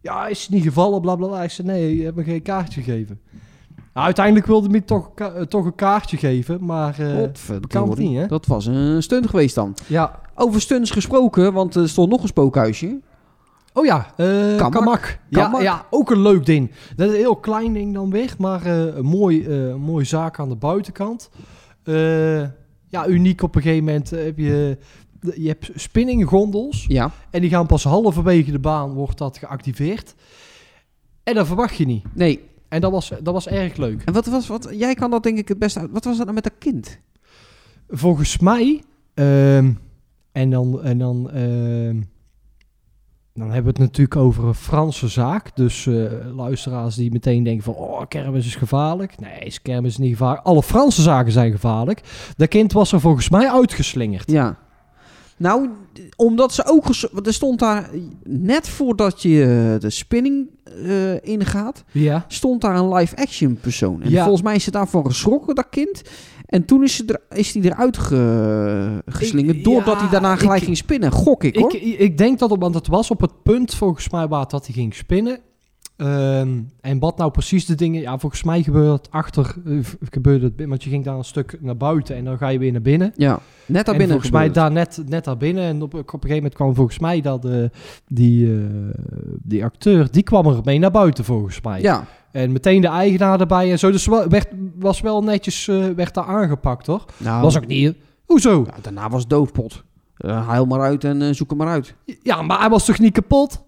C: Ja, is het niet gevallen, bla, bla, bla. Ik zei, nee, je hebt me geen kaartje gegeven. Nou, uiteindelijk wilde hij me toch, ka- eh, toch een kaartje geven, maar... eh,
D: Godverdorie.
C: niet, hè?
D: Dat was een stunt geweest dan.
C: ja.
D: Over stunts gesproken, want er stond nog een spookhuisje.
C: Oh ja, eh
D: Kamak.
C: kamak.
D: Kamak.
C: Ja, ja, ook een leuk ding. Dat is een heel klein ding dan weer, maar eh, een mooi, eh, een mooie zaak aan de buitenkant. Eh, ja, uniek op een gegeven moment eh, heb je... Je hebt spinninggondels
D: Ja.
C: en die gaan pas halverwege de baan wordt dat geactiveerd. En dat verwacht je niet.
D: Nee.
C: En dat was, dat was erg leuk.
D: En wat was wat? Jij kan dat denk ik het beste uit. Wat was dat nou met dat kind?
C: Volgens mij. ehm, en dan. En dan ehm, dan hebben we het natuurlijk over een Franse zaak. Dus eh, luisteraars die meteen denken van... Oh, kermis is gevaarlijk. Nee, is kermis niet gevaarlijk. Alle Franse zaken zijn gevaarlijk. Dat kind was er volgens mij uitgeslingerd.
D: Ja. Nou, d- omdat ze ook... ges- Want er stond daar... Net voordat je eh, de spinning eh, ingaat...
C: Ja.
D: stond daar een live-action persoon. En
C: Ja.
D: volgens mij is ze daarvan geschrokken, dat kind. En toen is, ze er, is die eruit ge- geslingerd...
C: Ik-
D: doordat
C: ja,
D: hij daarna gelijk
C: ik-
D: ging spinnen. Gok ik,
C: Ik,
D: hoor.
C: ik denk dat op, want het was op het punt volgens mij waar het dat hij ging spinnen. Ehm, en wat nou precies de dingen... Ja, volgens mij gebeurde het achter... eh, v- gebeurde het, binnen, want je ging daar een stuk naar buiten en dan ga je weer naar binnen.
D: ja, net daar
C: En
D: binnen
C: volgens mij
D: gebeurd.
C: daar net, net daar binnen. En op, op een gegeven moment kwam volgens mij dat eh, die, eh, die acteur, die kwam er mee naar buiten volgens mij.
D: Ja,
C: En meteen de eigenaar erbij en zo. Dus wa- werd, was wel netjes, eh, werd daar aangepakt hoor.
D: nou,
C: Was ook niet... eh, Hoezo?
D: ja, nou, daarna was het doofpot. Eh, huil maar uit en eh, zoek hem maar uit.
C: Ja, maar hij was toch niet kapot?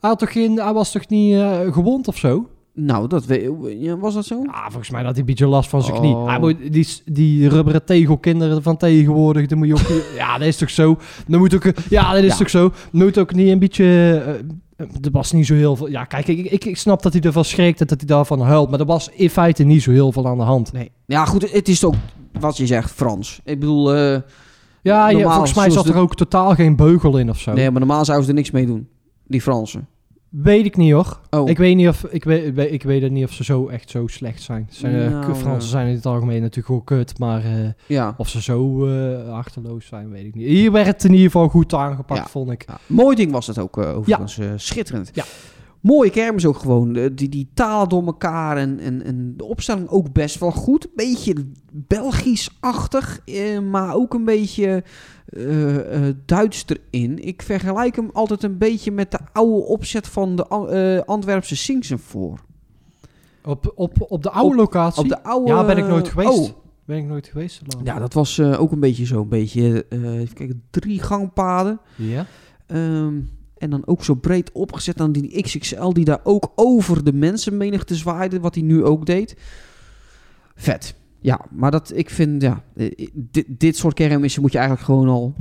C: Hij, had toch geen, hij was toch niet eh, gewond of zo?
D: Nou, dat we, ja, was dat zo?
C: Ja, Ah, volgens mij had hij een beetje last van zijn
D: Oh.
C: knie. Hij moet, die, die rubberen tegelkinderen van tegenwoordig, dan moet je ook... ja, dat is toch zo? Dan moet ook, ja, dat is
D: Ja.
C: toch zo? Moet ook niet een beetje... eh, eh, er was niet zo heel veel... Ja, kijk, ik, ik, ik snap dat hij ervan schrikt en dat hij daarvan huilt. Maar er was in feite niet zo heel veel aan de hand.
D: Nee. Ja, goed, het is ook wat je zegt, Frans. Ik bedoel, eh,
C: Ja, je-
D: Normaal,
C: volgens mij
D: zoals
C: zat er ook totaal geen beugel in of zo.
D: nee, maar normaal zouden ze er niks mee doen. Die Fransen.
C: Weet ik niet hoor.
D: Oh,
C: Ik weet niet of ik weet, we- ik weet het niet of ze zo echt zo slecht zijn. Ze zijn, eh,
D: Nou,
C: k- Fransen
D: eh.
C: zijn in het algemeen natuurlijk ook kut, maar eh,
D: ja.
C: of ze zo eh achterloos zijn, weet ik niet. Hier werd het in ieder geval goed aangepakt,
D: Ja.
C: vond ik.
D: Ja, Mooi ding was dat ook, eh, overigens. eh, schitterend.
C: Ja.
D: Mooie kermis ook gewoon. eh, die, die talen door elkaar en, en, en de opstelling ook best wel goed. Beetje Belgisch-achtig, eh, maar ook een beetje eh, eh, Duits erin. Ik vergelijk hem altijd een beetje met de oude opzet van de An- eh, Antwerpse Singsen voor.
C: Op, op, op de oude locatie?
D: Op de oude...
C: ja, ben ik nooit geweest.
D: Oh,
C: Ben ik nooit geweest. Lars.
D: ja, dat was eh, ook een beetje zo. Een beetje, eh even kijken, drie gangpaden.
C: Ja?
D: Ehm, en dan ook zo breed opgezet aan die XXL die daar ook over de mensenmenigte zwaaide, wat hij nu ook deed. Vet. Ja, maar dat, ik vind, ja, eh, dit, dit soort kermissen moet je eigenlijk gewoon al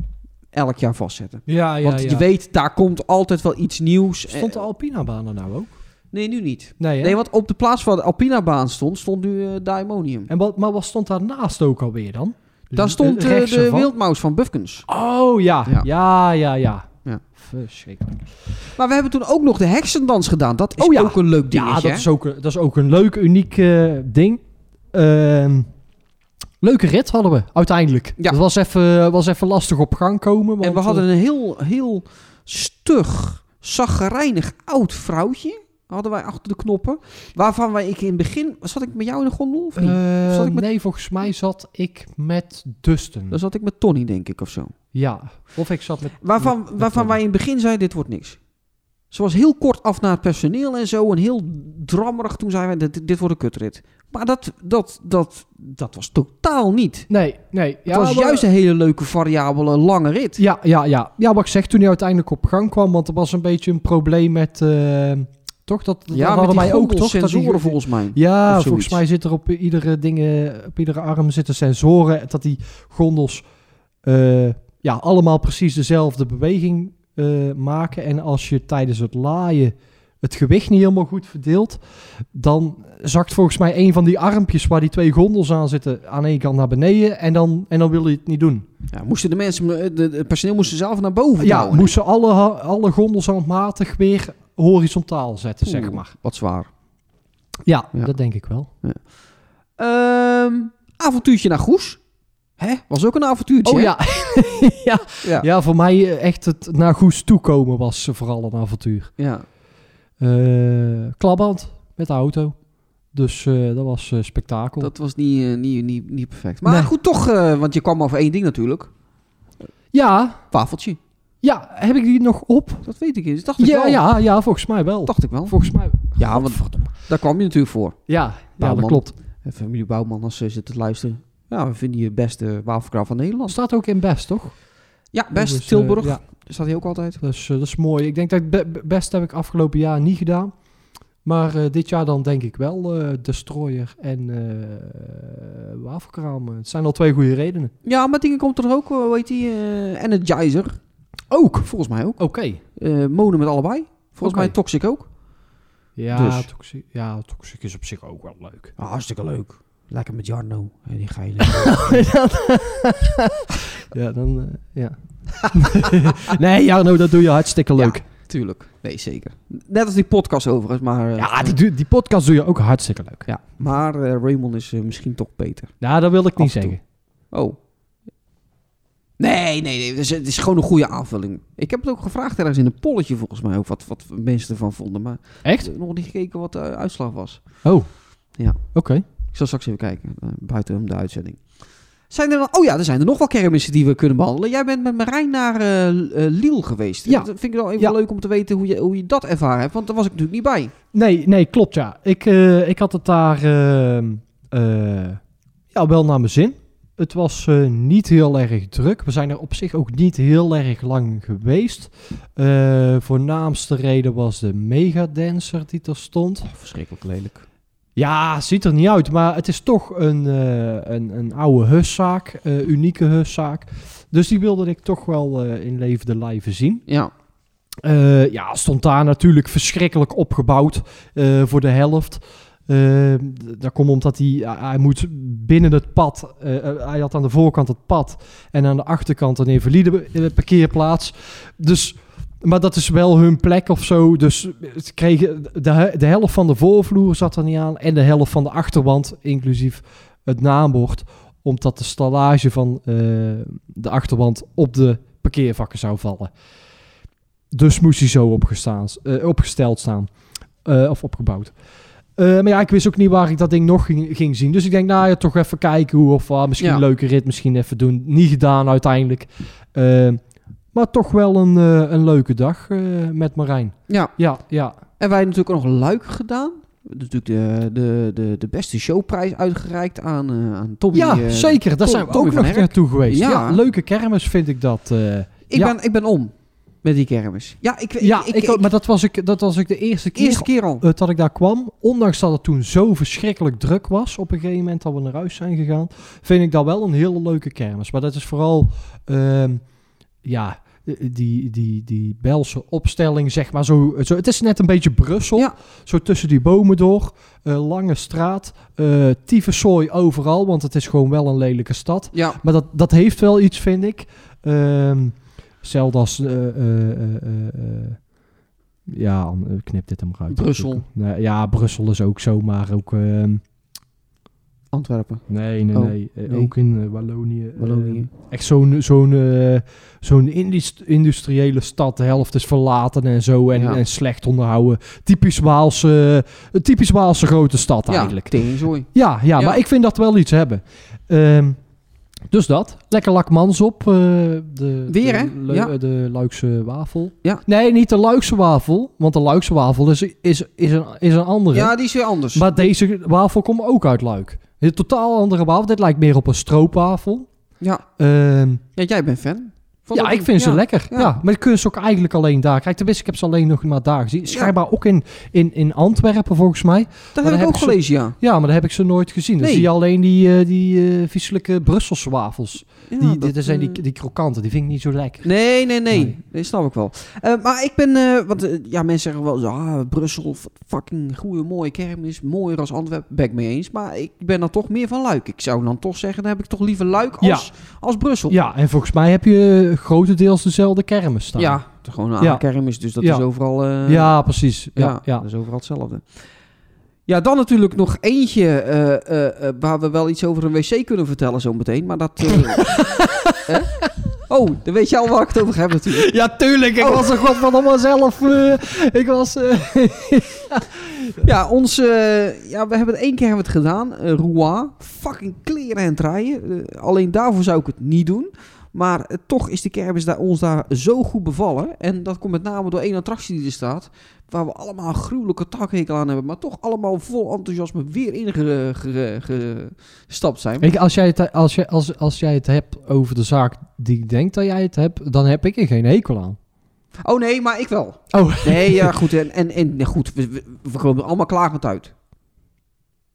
D: elk jaar vastzetten.
C: Ja, ja,
D: Want je weet, daar komt altijd wel iets nieuws.
C: Stond de
D: Eh,
C: Alpina-baan er nou ook?
D: Nee, nu niet.
C: Nee, hè?
D: Nee, want op de plaats waar de Alpina-baan stond, stond nu eh Daimonium.
C: en wat, maar wat stond daarnaast ook alweer dan?
D: Daar stond eh,
C: Rechts
D: de
C: ervan?
D: wildmaus van Bufkens.
C: Oh, ja.
D: Ja.
C: Ja, ja, ja. ja.
D: Ja.
C: Verschrikkelijk.
D: Maar we hebben toen ook nog de heksendans gedaan. Dat is
C: Oh ja.
D: ook een leuk dingetje.
C: Ja, dat
D: hè?
C: is, ook, een- dat is ook een leuk, uniek eh, ding. Ehm, leuke rit hadden we, uiteindelijk.
D: Ja.
C: Het was even, was even lastig op gang komen.
D: En
C: want,
D: we hadden
C: eh,
D: een heel, heel stug, zagrijnig oud vrouwtje. Hadden wij achter de knoppen. Waarvan wij ik in het begin... Zat ik met jou in de gondel of niet?
C: eh,
D: zat ik met-
C: Nee, volgens mij zat ik met Dustin.
D: Dan zat ik met Tony, denk ik, of zo.
C: Ja, of ik zat met...
D: Waarvan,
C: met
D: waarvan
C: Tony.
D: wij in het begin zeiden, dit wordt niks. Ze was heel kort af naar het personeel en zo. En heel drammerig toen zeiden wij, dit, dit wordt een kutrit. Maar dat, dat, dat, dat was totaal niet.
C: Nee, nee. Ja,
D: het was
C: maar-
D: juist een hele leuke, variabele, lange rit.
C: Ja, ja, ja. Ja, wat ik zeg, toen hij uiteindelijk op gang kwam, want er was een beetje een probleem met... eh, toch? Dat, dat
D: Ja,
C: hadden
D: met die
C: wij ook,
D: ook
C: toch? Dat die-
D: sensoren volgens mij.
C: Ja,
D: Of
C: volgens
D: zoiets.
C: mij zit er op iedere, ding, eh, op iedere arm zitten sensoren. Dat die gondels eh, ja, allemaal precies dezelfde beweging eh, maken. En als je tijdens het laaien het gewicht niet helemaal goed verdeelt, dan zakt volgens mij een van die armpjes waar die twee gondels aan zitten aan één kant naar beneden. En dan, en dan wil je het niet doen.
D: Ja, moesten de mensen, eh, de, de- het personeel moesten zelf naar boven
C: Ja,
D: douwen.
C: moesten alle, ha- alle gondels handmatig weer horizontaal zetten, zeg
D: Oeh,
C: maar.
D: Wat zwaar.
C: Ja,
D: Ja.
C: dat denk ik wel.
D: Ehm, avontuurtje naar Goes. Hè? Was ook een avontuurtje.
C: Oh
D: hè?
C: ja. ja.
D: Ja.
C: ja. voor mij eh, echt het naar Goes toekomen was eh, vooral een avontuur.
D: ja.
C: Eh klabband met de auto. Dus eh, dat was eh, spektakel.
D: Dat was niet, eh, niet, niet, niet perfect. Maar
C: Nee.
D: goed, toch, eh, want je kwam maar voor één ding natuurlijk.
C: Ja,
D: Wafeltje.
C: ja, heb ik die nog op?
D: Dat weet ik eens. Dacht ik
C: Ja,
D: wel.
C: ja, ja, volgens mij wel.
D: Dacht ik wel.
C: Volgens mij.
D: Ja, want daar kwam je natuurlijk voor.
C: Ja, ja dat
D: Bouwman.
C: klopt.
D: En Eh, familie Bouwman, als ze zit te luisteren. Ja, we vinden je beste wafelkraal van Nederland.
C: Staat ook in Best, toch?
D: Ja, best.
C: Dus, eh,
D: Tilburg.
C: ja,
D: Staat hij ook altijd.
C: dus eh, dat is mooi. Ik denk dat ik Be- Be- Best heb ik afgelopen jaar niet gedaan. Maar eh, dit jaar dan denk ik wel eh, Destroyer en eh Wafelkraam. Het zijn al twee goede redenen.
D: Ja, maar dingen komt er ook, eh, hoe heet die? eh, Energizer.
C: Ook?
D: Volgens mij ook.
C: Oké.
D: Eh monen met allebei. Volgens
C: Oké.
D: mij Toxic ook.
C: Ja,
D: Dus.
C: toxic, ja, toxic is op zich ook wel leuk.
D: Ah, hartstikke leuk. Lekker met Jarno. En die geile.
C: ja, dan... eh, ja. nee, Jarno, dat doe je hartstikke leuk. Ja,
D: Tuurlijk. Nee, zeker. Net als die podcast overigens, maar... eh,
C: die, doe- die podcast doe je ook hartstikke leuk.
D: ja. Maar eh, Raymond is eh, misschien toch beter.
C: Nou, dat wil ik niet
D: Af en toe.
C: zeggen.
D: Oh. Nee, nee, nee. Het is, het is gewoon een goede aanvulling. Ik heb het ook gevraagd ergens in een polletje volgens mij ook wat, wat mensen ervan vonden. Maar
C: Echt?
D: ik heb nog niet gekeken wat de uitslag was.
C: Oh.
D: Ja.
C: Oké.
D: Ik zal straks even kijken, eh, buiten om de uitzending. Zijn er dan, oh ja, er zijn er nog wel kermissen die we kunnen behandelen. Jij bent met Marijn naar eh L- eh, Liel geweest.
C: Ja.
D: Dat vind ik wel even
C: Ja.
D: leuk om te weten hoe je, hoe je dat ervaren hebt. Want daar was ik natuurlijk niet bij.
C: Nee, nee, klopt ja. Ik, eh, ik had het daar ehm, eh, ja, wel naar mijn zin. Het was eh, niet heel erg druk. We zijn er op zich ook niet heel erg lang geweest. Eh voornaamste reden was de megadancer die er stond.
D: verschrikkelijk lelijk.
C: Ja, ziet er niet uit, maar het is toch een, eh, een, een oude huszaak, eh, unieke huszaak. Dus die wilde ik toch wel eh, in levende lijven zien.
D: Ja,
C: Eh, ja, stond daar natuurlijk verschrikkelijk opgebouwd eh, voor de helft. Eh, d- dat komt omdat hij, hij moet binnen het pad, eh, eh, hij had aan de voorkant het pad en aan de achterkant een invalide be- eh, parkeerplaats. Dus, maar dat is wel hun plek of zo. Dus het kregen, de, he- de helft van de voorvloer zat er niet aan en de helft van de achterwand, inclusief het naambord, omdat de stallage van eh, de achterwand op de parkeervakken zou vallen. Dus moest hij zo opgestaan, eh, opgesteld staan. Eh, of opgebouwd. Eh, maar ja, ik wist ook niet waar ik dat ding nog ging, ging zien. Dus ik denk, nou ja, toch even kijken hoe of wat. misschien
D: Ja.
C: een leuke rit, misschien even doen. Niet gedaan uiteindelijk. Eh, maar toch wel een, eh, een leuke dag eh, met Marijn.
D: ja.
C: Ja, ja.
D: En wij hebben natuurlijk ook nog Luik gedaan. Natuurlijk de, de, de, de beste showprijs uitgereikt aan, eh, aan Tommy.
C: ja,
D: eh,
C: zeker. Daar
D: Tom-
C: zijn we
D: Tommy
C: ook
D: van
C: nog
D: Herk.
C: naartoe geweest.
D: Ja.
C: Ja. leuke kermis vind ik dat. eh.
D: Ik,
C: Ja.
D: ben, ik ben om met die kermis. Ja, ik, ik,
C: ja,
D: ik,
C: ik,
D: ik-
C: ook, maar dat was, ik, dat was ik de eerste keer
D: eerste keer al.
C: eh, dat ik daar kwam, ondanks dat het toen zo verschrikkelijk druk was op een gegeven moment dat we naar huis zijn gegaan, vind ik dat wel een hele leuke kermis. Maar dat is vooral, ehm, ja, eh, die, die, die Belse opstelling, zeg maar. Zo, zo, het is net een beetje Brussel,
D: Ja.
C: zo tussen die bomen door, eh, lange straat, eh tyfuszooi overal, want het is gewoon wel een lelijke stad.
D: Ja,
C: Maar dat, dat heeft wel iets, vind ik. Ehm Hetzelfde als... eh, eh, eh, eh, eh, ja, an- eh, knip dit er maar uit.
D: Brussel.
C: Nee, ja, Brussel is ook zo, maar ook... ehm,
D: Antwerpen.
C: nee, nee,
D: Oh,
C: nee. Eh,
D: nee.
C: Ook in eh, Wallonië. eh,
D: Wallonië.
C: echt zo'n zo'n eh, zo'n indust- industriële stad. De helft is verlaten en zo. En,
D: Ja.
C: en slecht onderhouden. Typisch Waalse, een typisch Waalse grote stad
D: ja,
C: eigenlijk.
D: teringzooi.
C: Ja, ja,
D: Ja.
C: maar ik vind dat wel iets hebben. Ehm, Dus dat. Lekker lakmans op. eh, de,
D: Weer,
C: de,
D: hè?
C: Lu-
D: Ja.
C: eh, de Luikse wafel.
D: Ja.
C: Nee, niet de Luikse wafel. Want de Luikse wafel is, is, is, een, is een andere.
D: Ja, die is weer anders.
C: Maar deze wafel komt ook uit Luik. Dit is een totaal andere wafel. Dit lijkt meer op een stroopwafel.
D: ja.
C: Ehm,
D: ja, jij bent fan. Van
C: ja,
D: dat
C: ik
D: ding.
C: vind ze
D: Ja.
C: lekker. Ja.
D: Ja.
C: maar die kun je ze ook eigenlijk alleen daar. Kijk, tenminste, ik heb ze alleen nog maar daar gezien. Schijnbaar ook in, in, in Antwerpen, volgens mij.
D: Dat heb
C: Maar dan
D: ik ook
C: heb ik ze-
D: gelezen, ja.
C: Ja, maar daar heb ik ze nooit gezien. Dan
D: Nee.
C: zie je alleen die, eh die eh vieselijke Brusselse wafels.
D: Ja,
C: die,
D: dat,
C: dit zijn die,
D: eh,
C: die krokanten, die vind ik niet zo lekker.
D: Nee, nee, nee.
C: Nee.
D: Nee, snap ik wel. Eh, maar ik ben... eh, want eh, ja, mensen zeggen wel zo... Ah, Brussel, f- fucking goede, mooie kermis. Mooier als Antwerpen. Ben ik mee eens. Maar ik ben dan toch meer van Luik. Ik zou dan toch zeggen... Dan heb ik toch liever Luik
C: Ja.
D: als, als Brussel.
C: Ja, en volgens mij heb je eh, grotendeels dezelfde kermis staan.
D: Ja, het is gewoon een
C: Ja.
D: oude kermis. Dus dat
C: Ja.
D: is overal... eh,
C: ja precies. Ja,
D: Ja,
C: ja.
D: dat is overal hetzelfde. Ja, dan natuurlijk nog eentje eh, eh, eh, waar we wel iets over een wc kunnen vertellen zometeen. Maar dat... eh, hè? Oh, dan weet je al waar ik het over heb natuurlijk.
C: Ja, tuurlijk. Ik
D: Oh.
C: was er godverdomme zelf. eh, ik was... eh,
D: Ja, ons, eh, ja, we hebben het één keer hebben we het gedaan. eh Rouen. Fucking kleren en draaien. Eh, alleen daarvoor zou ik het niet doen. Maar eh, toch is de kermis daar, ons daar zo goed bevallen. En dat komt met name door één attractie die er staat. Waar we allemaal een gruwelijke takhekel aan hebben. Maar toch allemaal vol enthousiasme weer ingestapt zijn.
C: Ik, als, jij het, als, jij, als, als jij het hebt over de zaak die ik denk dat jij het hebt, dan heb ik er geen hekel aan.
D: Oh nee, maar ik wel.
C: Oh.
D: Nee, ja goed. En, en, en ja, goed, we, we, we komen er allemaal klagend uit.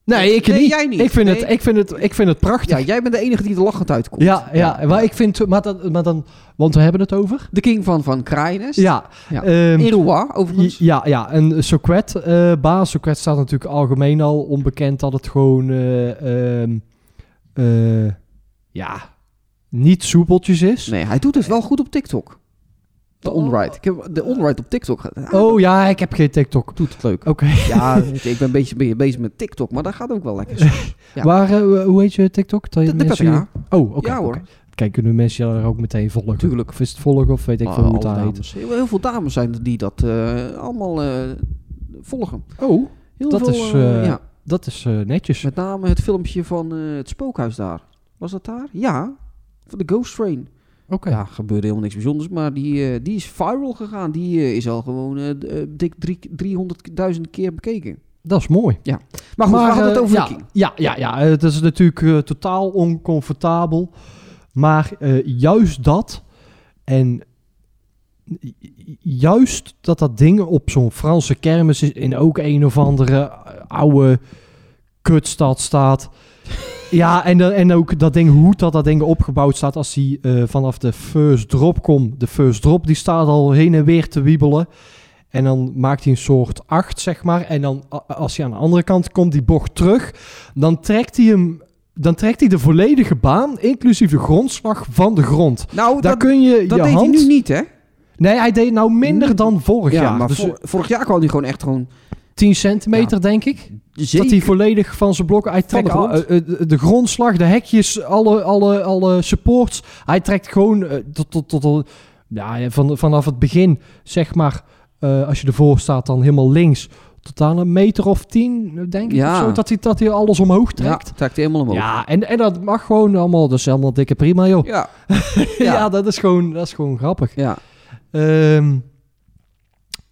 C: Nee, ik
D: Nee,
C: niet.
D: jij niet.
C: Ik vind,
D: Nee.
C: het, ik, vind het, ik vind het prachtig.
D: Ja, jij bent de enige die er lachend uitkomt.
C: Ja, ja, maar ik vind... Maar, dat, maar dan... Want we hebben het over...
D: De king van, van Kraaienest.
C: Ja.
D: Ja.
C: ehm,
D: In Rouen, overigens.
C: Ja, ja, en Socrates, eh baas Socrates staat natuurlijk algemeen al onbekend dat het gewoon, eh, ehm, eh, ja, niet soepeltjes is.
D: Nee, hij doet het wel goed op TikTok. De
C: Oh.
D: onride. Ik heb de onride op TikTok. gedaan. Hij
C: Oh ja, ik heb geen TikTok.
D: doet het leuk.
C: Oké,
D: Ja, weet je, ik ben een beetje, beetje bezig met TikTok, maar dat gaat ook wel lekker. De, Ja.
C: waar, eh, hoe heet je TikTok? Dat je
D: de Petra.
C: mensen- Oh, oké.
D: ja hoor.
C: oké. Kijk, kunnen mensen je er ook meteen volgen?
D: Tuurlijk.
C: Of is het volgen of weet ik veel
D: Ah,
C: hoe het
D: alle
C: daar heet?
D: dames. Heel, heel veel dames zijn er die dat eh, allemaal eh, volgen.
C: Oh,
D: Heel
C: Dat
D: veel,
C: is,
D: eh,
C: eh,
D: ja.
C: dat is eh, netjes.
D: Met name het filmpje van eh, het spookhuis daar. Was dat daar? Ja. Van de Ghost Train.
C: Oké.
D: Ja, gebeurde helemaal niks bijzonders, maar die, eh, die is viral gegaan. Die eh, is al gewoon eh, d- eh, dik drie- 300.000 keer bekeken.
C: Dat is mooi.
D: Maar goed, we hadden het
C: eh,
D: over de
C: ja,
D: King.
C: ja, ja, ja, eh, het is natuurlijk eh, totaal oncomfortabel. Maar eh, juist dat en ju- juist dat dat ding op zo'n Franse kermis is in ook een of andere eh, oude kutstad staat. Ja, en, dan- en ook dat ding, hoe dat, dat ding opgebouwd staat als die eh, vanaf de first drop komt. De first drop die staat al heen en weer te wiebelen. En dan maakt hij een soort acht, zeg maar. En dan a- als hij aan de andere kant komt, die bocht terug. Dan trekt hij hem. Dan trekt hij de volledige baan, inclusief de grondslag van de grond.
D: Nou,
C: Daar
D: dat,
C: kun je
D: dat
C: je
D: deed
C: hand...
D: hij nu niet, hè?
C: Nee, hij deed nou minder dan vorig
D: ja,
C: jaar.
D: maar
C: Dus
D: vor- vorig jaar kwam hij gewoon echt gewoon...
C: 10 centimeter, denk ik. Dat hij volledig van zijn blokken... Hij trekt
D: de
C: al-
D: grond.
C: eh, eh, de, de grondslag, de hekjes, alle, alle, alle supports. Hij trekt gewoon eh, tot, tot, tot, tot- ja, van, vanaf het begin, zeg maar... eh, als je ervoor staat, dan helemaal links. Tot aan een meter of tien, denk ik.
D: Ja.
C: of zo, dat, hij, dat hij alles omhoog
D: Ja,
C: trekt.
D: trekt hij helemaal
C: Ja,
D: omhoog.
C: en, en dat mag gewoon allemaal. Dat is helemaal dikke prima, joh.
D: Ja.
C: Ja,
D: Ja.
C: dat, is gewoon, dat is gewoon grappig.
D: ja.
C: Ehm,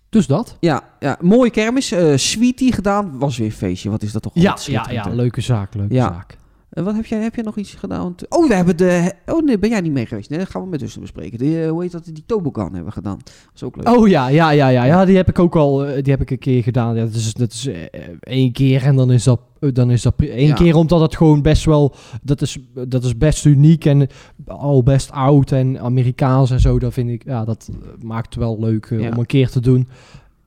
C: dus dat.
D: Ja, ja. mooie kermis. eh sweetie gedaan. Was weer een feestje. Wat is dat toch
C: Ja,
D: altijd
C: ja, ja,
D: schitterend, hè?
C: leuke zaak, leuke
D: Ja.
C: zaak.
D: Eh, wat heb jij, heb jij nog iets gedaan? Oh, we hebben de... Oh nee, ben jij niet mee geweest? Nee, dat gaan we met tussen bespreken. Die, eh, hoe heet dat? Die Tobogan hebben we gedaan. Dat is ook leuk.
C: Oh ja, ja, ja, ja, ja, die heb ik ook al, eh, die heb ik een keer gedaan. Ja, dat is, dat is eh, eh, één keer en dan is dat, eh, dan is dat pri- één
D: Ja.
C: keer omdat het gewoon best wel, dat is, dat is best uniek en al best oud en Amerikaans en zo. Dat vind ik, ja, dat eh, maakt wel leuk eh,
D: Ja.
C: om een keer te doen.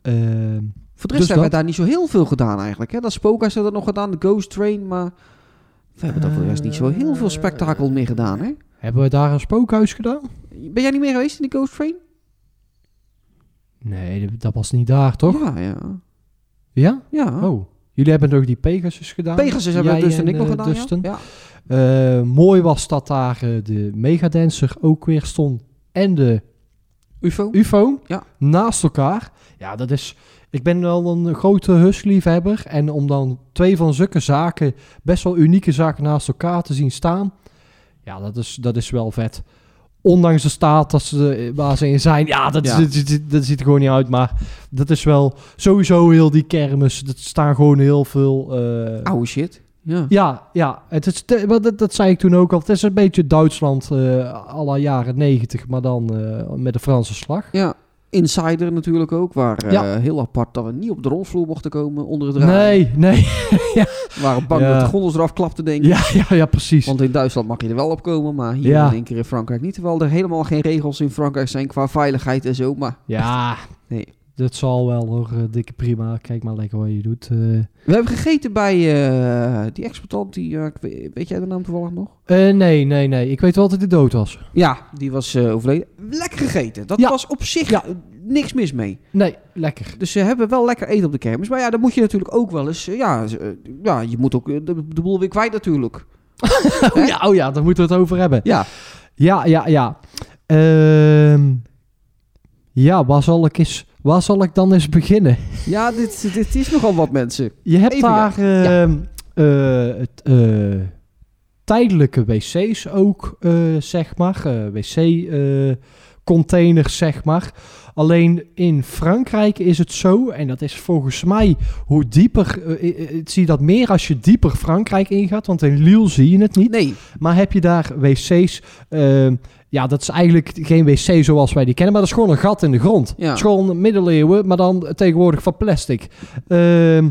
C: Ehm,
D: Voor de rest
C: dus
D: hebben
C: dat.
D: we daar niet zo heel veel gedaan eigenlijk. Hè? Dat Spookhuis hebben we nog gedaan. De Ghost Train. Maar we hebben daar voor de rest niet zo heel veel spektakel mee gedaan. Hè?
C: hebben we daar een spookhuis gedaan?
D: Ben jij niet mee geweest in de Ghost Train?
C: Nee, dat- dat was niet daar, toch?
D: Ja, ja.
C: Ja?
D: ja.
C: Oh. Jullie hebben nog die Pegasus gedaan?
D: Pegasus hebben we
C: Jij
D: dus en ik nog
C: eh,
D: gedaan. ja.
C: Dustin?
D: Ja.
C: Eh, mooi was dat daar eh, de Megadancer ook weer stond en de
D: UFO.
C: UFO
D: Ja.
C: naast elkaar. Ja, dat is. Ik ben wel een grote husliefhebber en om dan twee van zulke zaken, best wel unieke zaken naast elkaar te zien staan. Ja, dat is, dat is wel vet. Ondanks de staat dat ze, eh, waar ze in zijn. Ja, dat,
D: Ja.
C: dat, dat, dat ziet er gewoon niet uit. Maar dat is wel sowieso heel die kermis. Dat staan gewoon heel veel... eh,
D: Oude shit. Ja.
C: ja, ja. Het is, te- wel, dat, dat zei ik toen ook al. Het is een beetje Duitsland eh à la jaren negentig, maar dan eh, met de Franse slag.
D: ja. Insider natuurlijk ook, waar eh,
C: Ja.
D: heel apart dat we niet op de rolvloer mochten komen onder het raam.
C: Nee, nee.
D: We waren bang
C: Ja.
D: dat de gondels eraf klapten, denk ik.
C: Ja, ja, ja, precies.
D: Want in Duitsland mag je er wel op komen, maar hier
C: Ja.
D: in één keer in Frankrijk niet. Terwijl er helemaal geen regels in Frankrijk zijn qua veiligheid en zo. Maar
C: ja,
D: Nee.
C: dat zal wel hoor, eh, dikke prima. Kijk maar lekker wat je doet. eh.
D: we hebben gegeten bij eh, die exploitant, die, eh, ik weet, weet jij de naam toevallig nog?
C: Eh, nee, nee, nee. Ik weet wel dat hij dood was.
D: Ja, die was eh, overleden. Lekker gegeten. Dat
C: Ja.
D: was op zich
C: Ja.
D: eh, niks mis mee.
C: Nee, lekker.
D: Dus ze hebben wel lekker eten op de kermis. Maar ja, dan moet je natuurlijk ook wel eens... eh, ja, eh, ja, je moet ook eh, de, de boel weer kwijt natuurlijk.
C: Oh ja, oh ja, daar moeten we het over hebben.
D: Ja.
C: Ja, ja, ja. Ehm, ja, waar zal, ik eens, waar zal ik dan eens beginnen?
D: Ja, dit, dit is nogal wat mensen.
C: Je hebt
D: Even, ja.
C: daar ehm, eh, het, eh, tijdelijke wc's ook, eh, zeg maar. eh, Wc-containers, zeg maar. Alleen in Frankrijk is het zo, en dat is volgens mij hoe dieper. eh, eh, eh, zie je dat meer als je dieper Frankrijk ingaat, want in Lille zie je het niet.
D: Nee,
C: Maar heb je daar wc's? ehm, ja, dat is eigenlijk geen wc zoals wij die kennen, maar dat is gewoon een gat in de grond.
D: Ja.
C: Het is gewoon middeleeuwen, maar dan tegenwoordig van plastic. Ehm,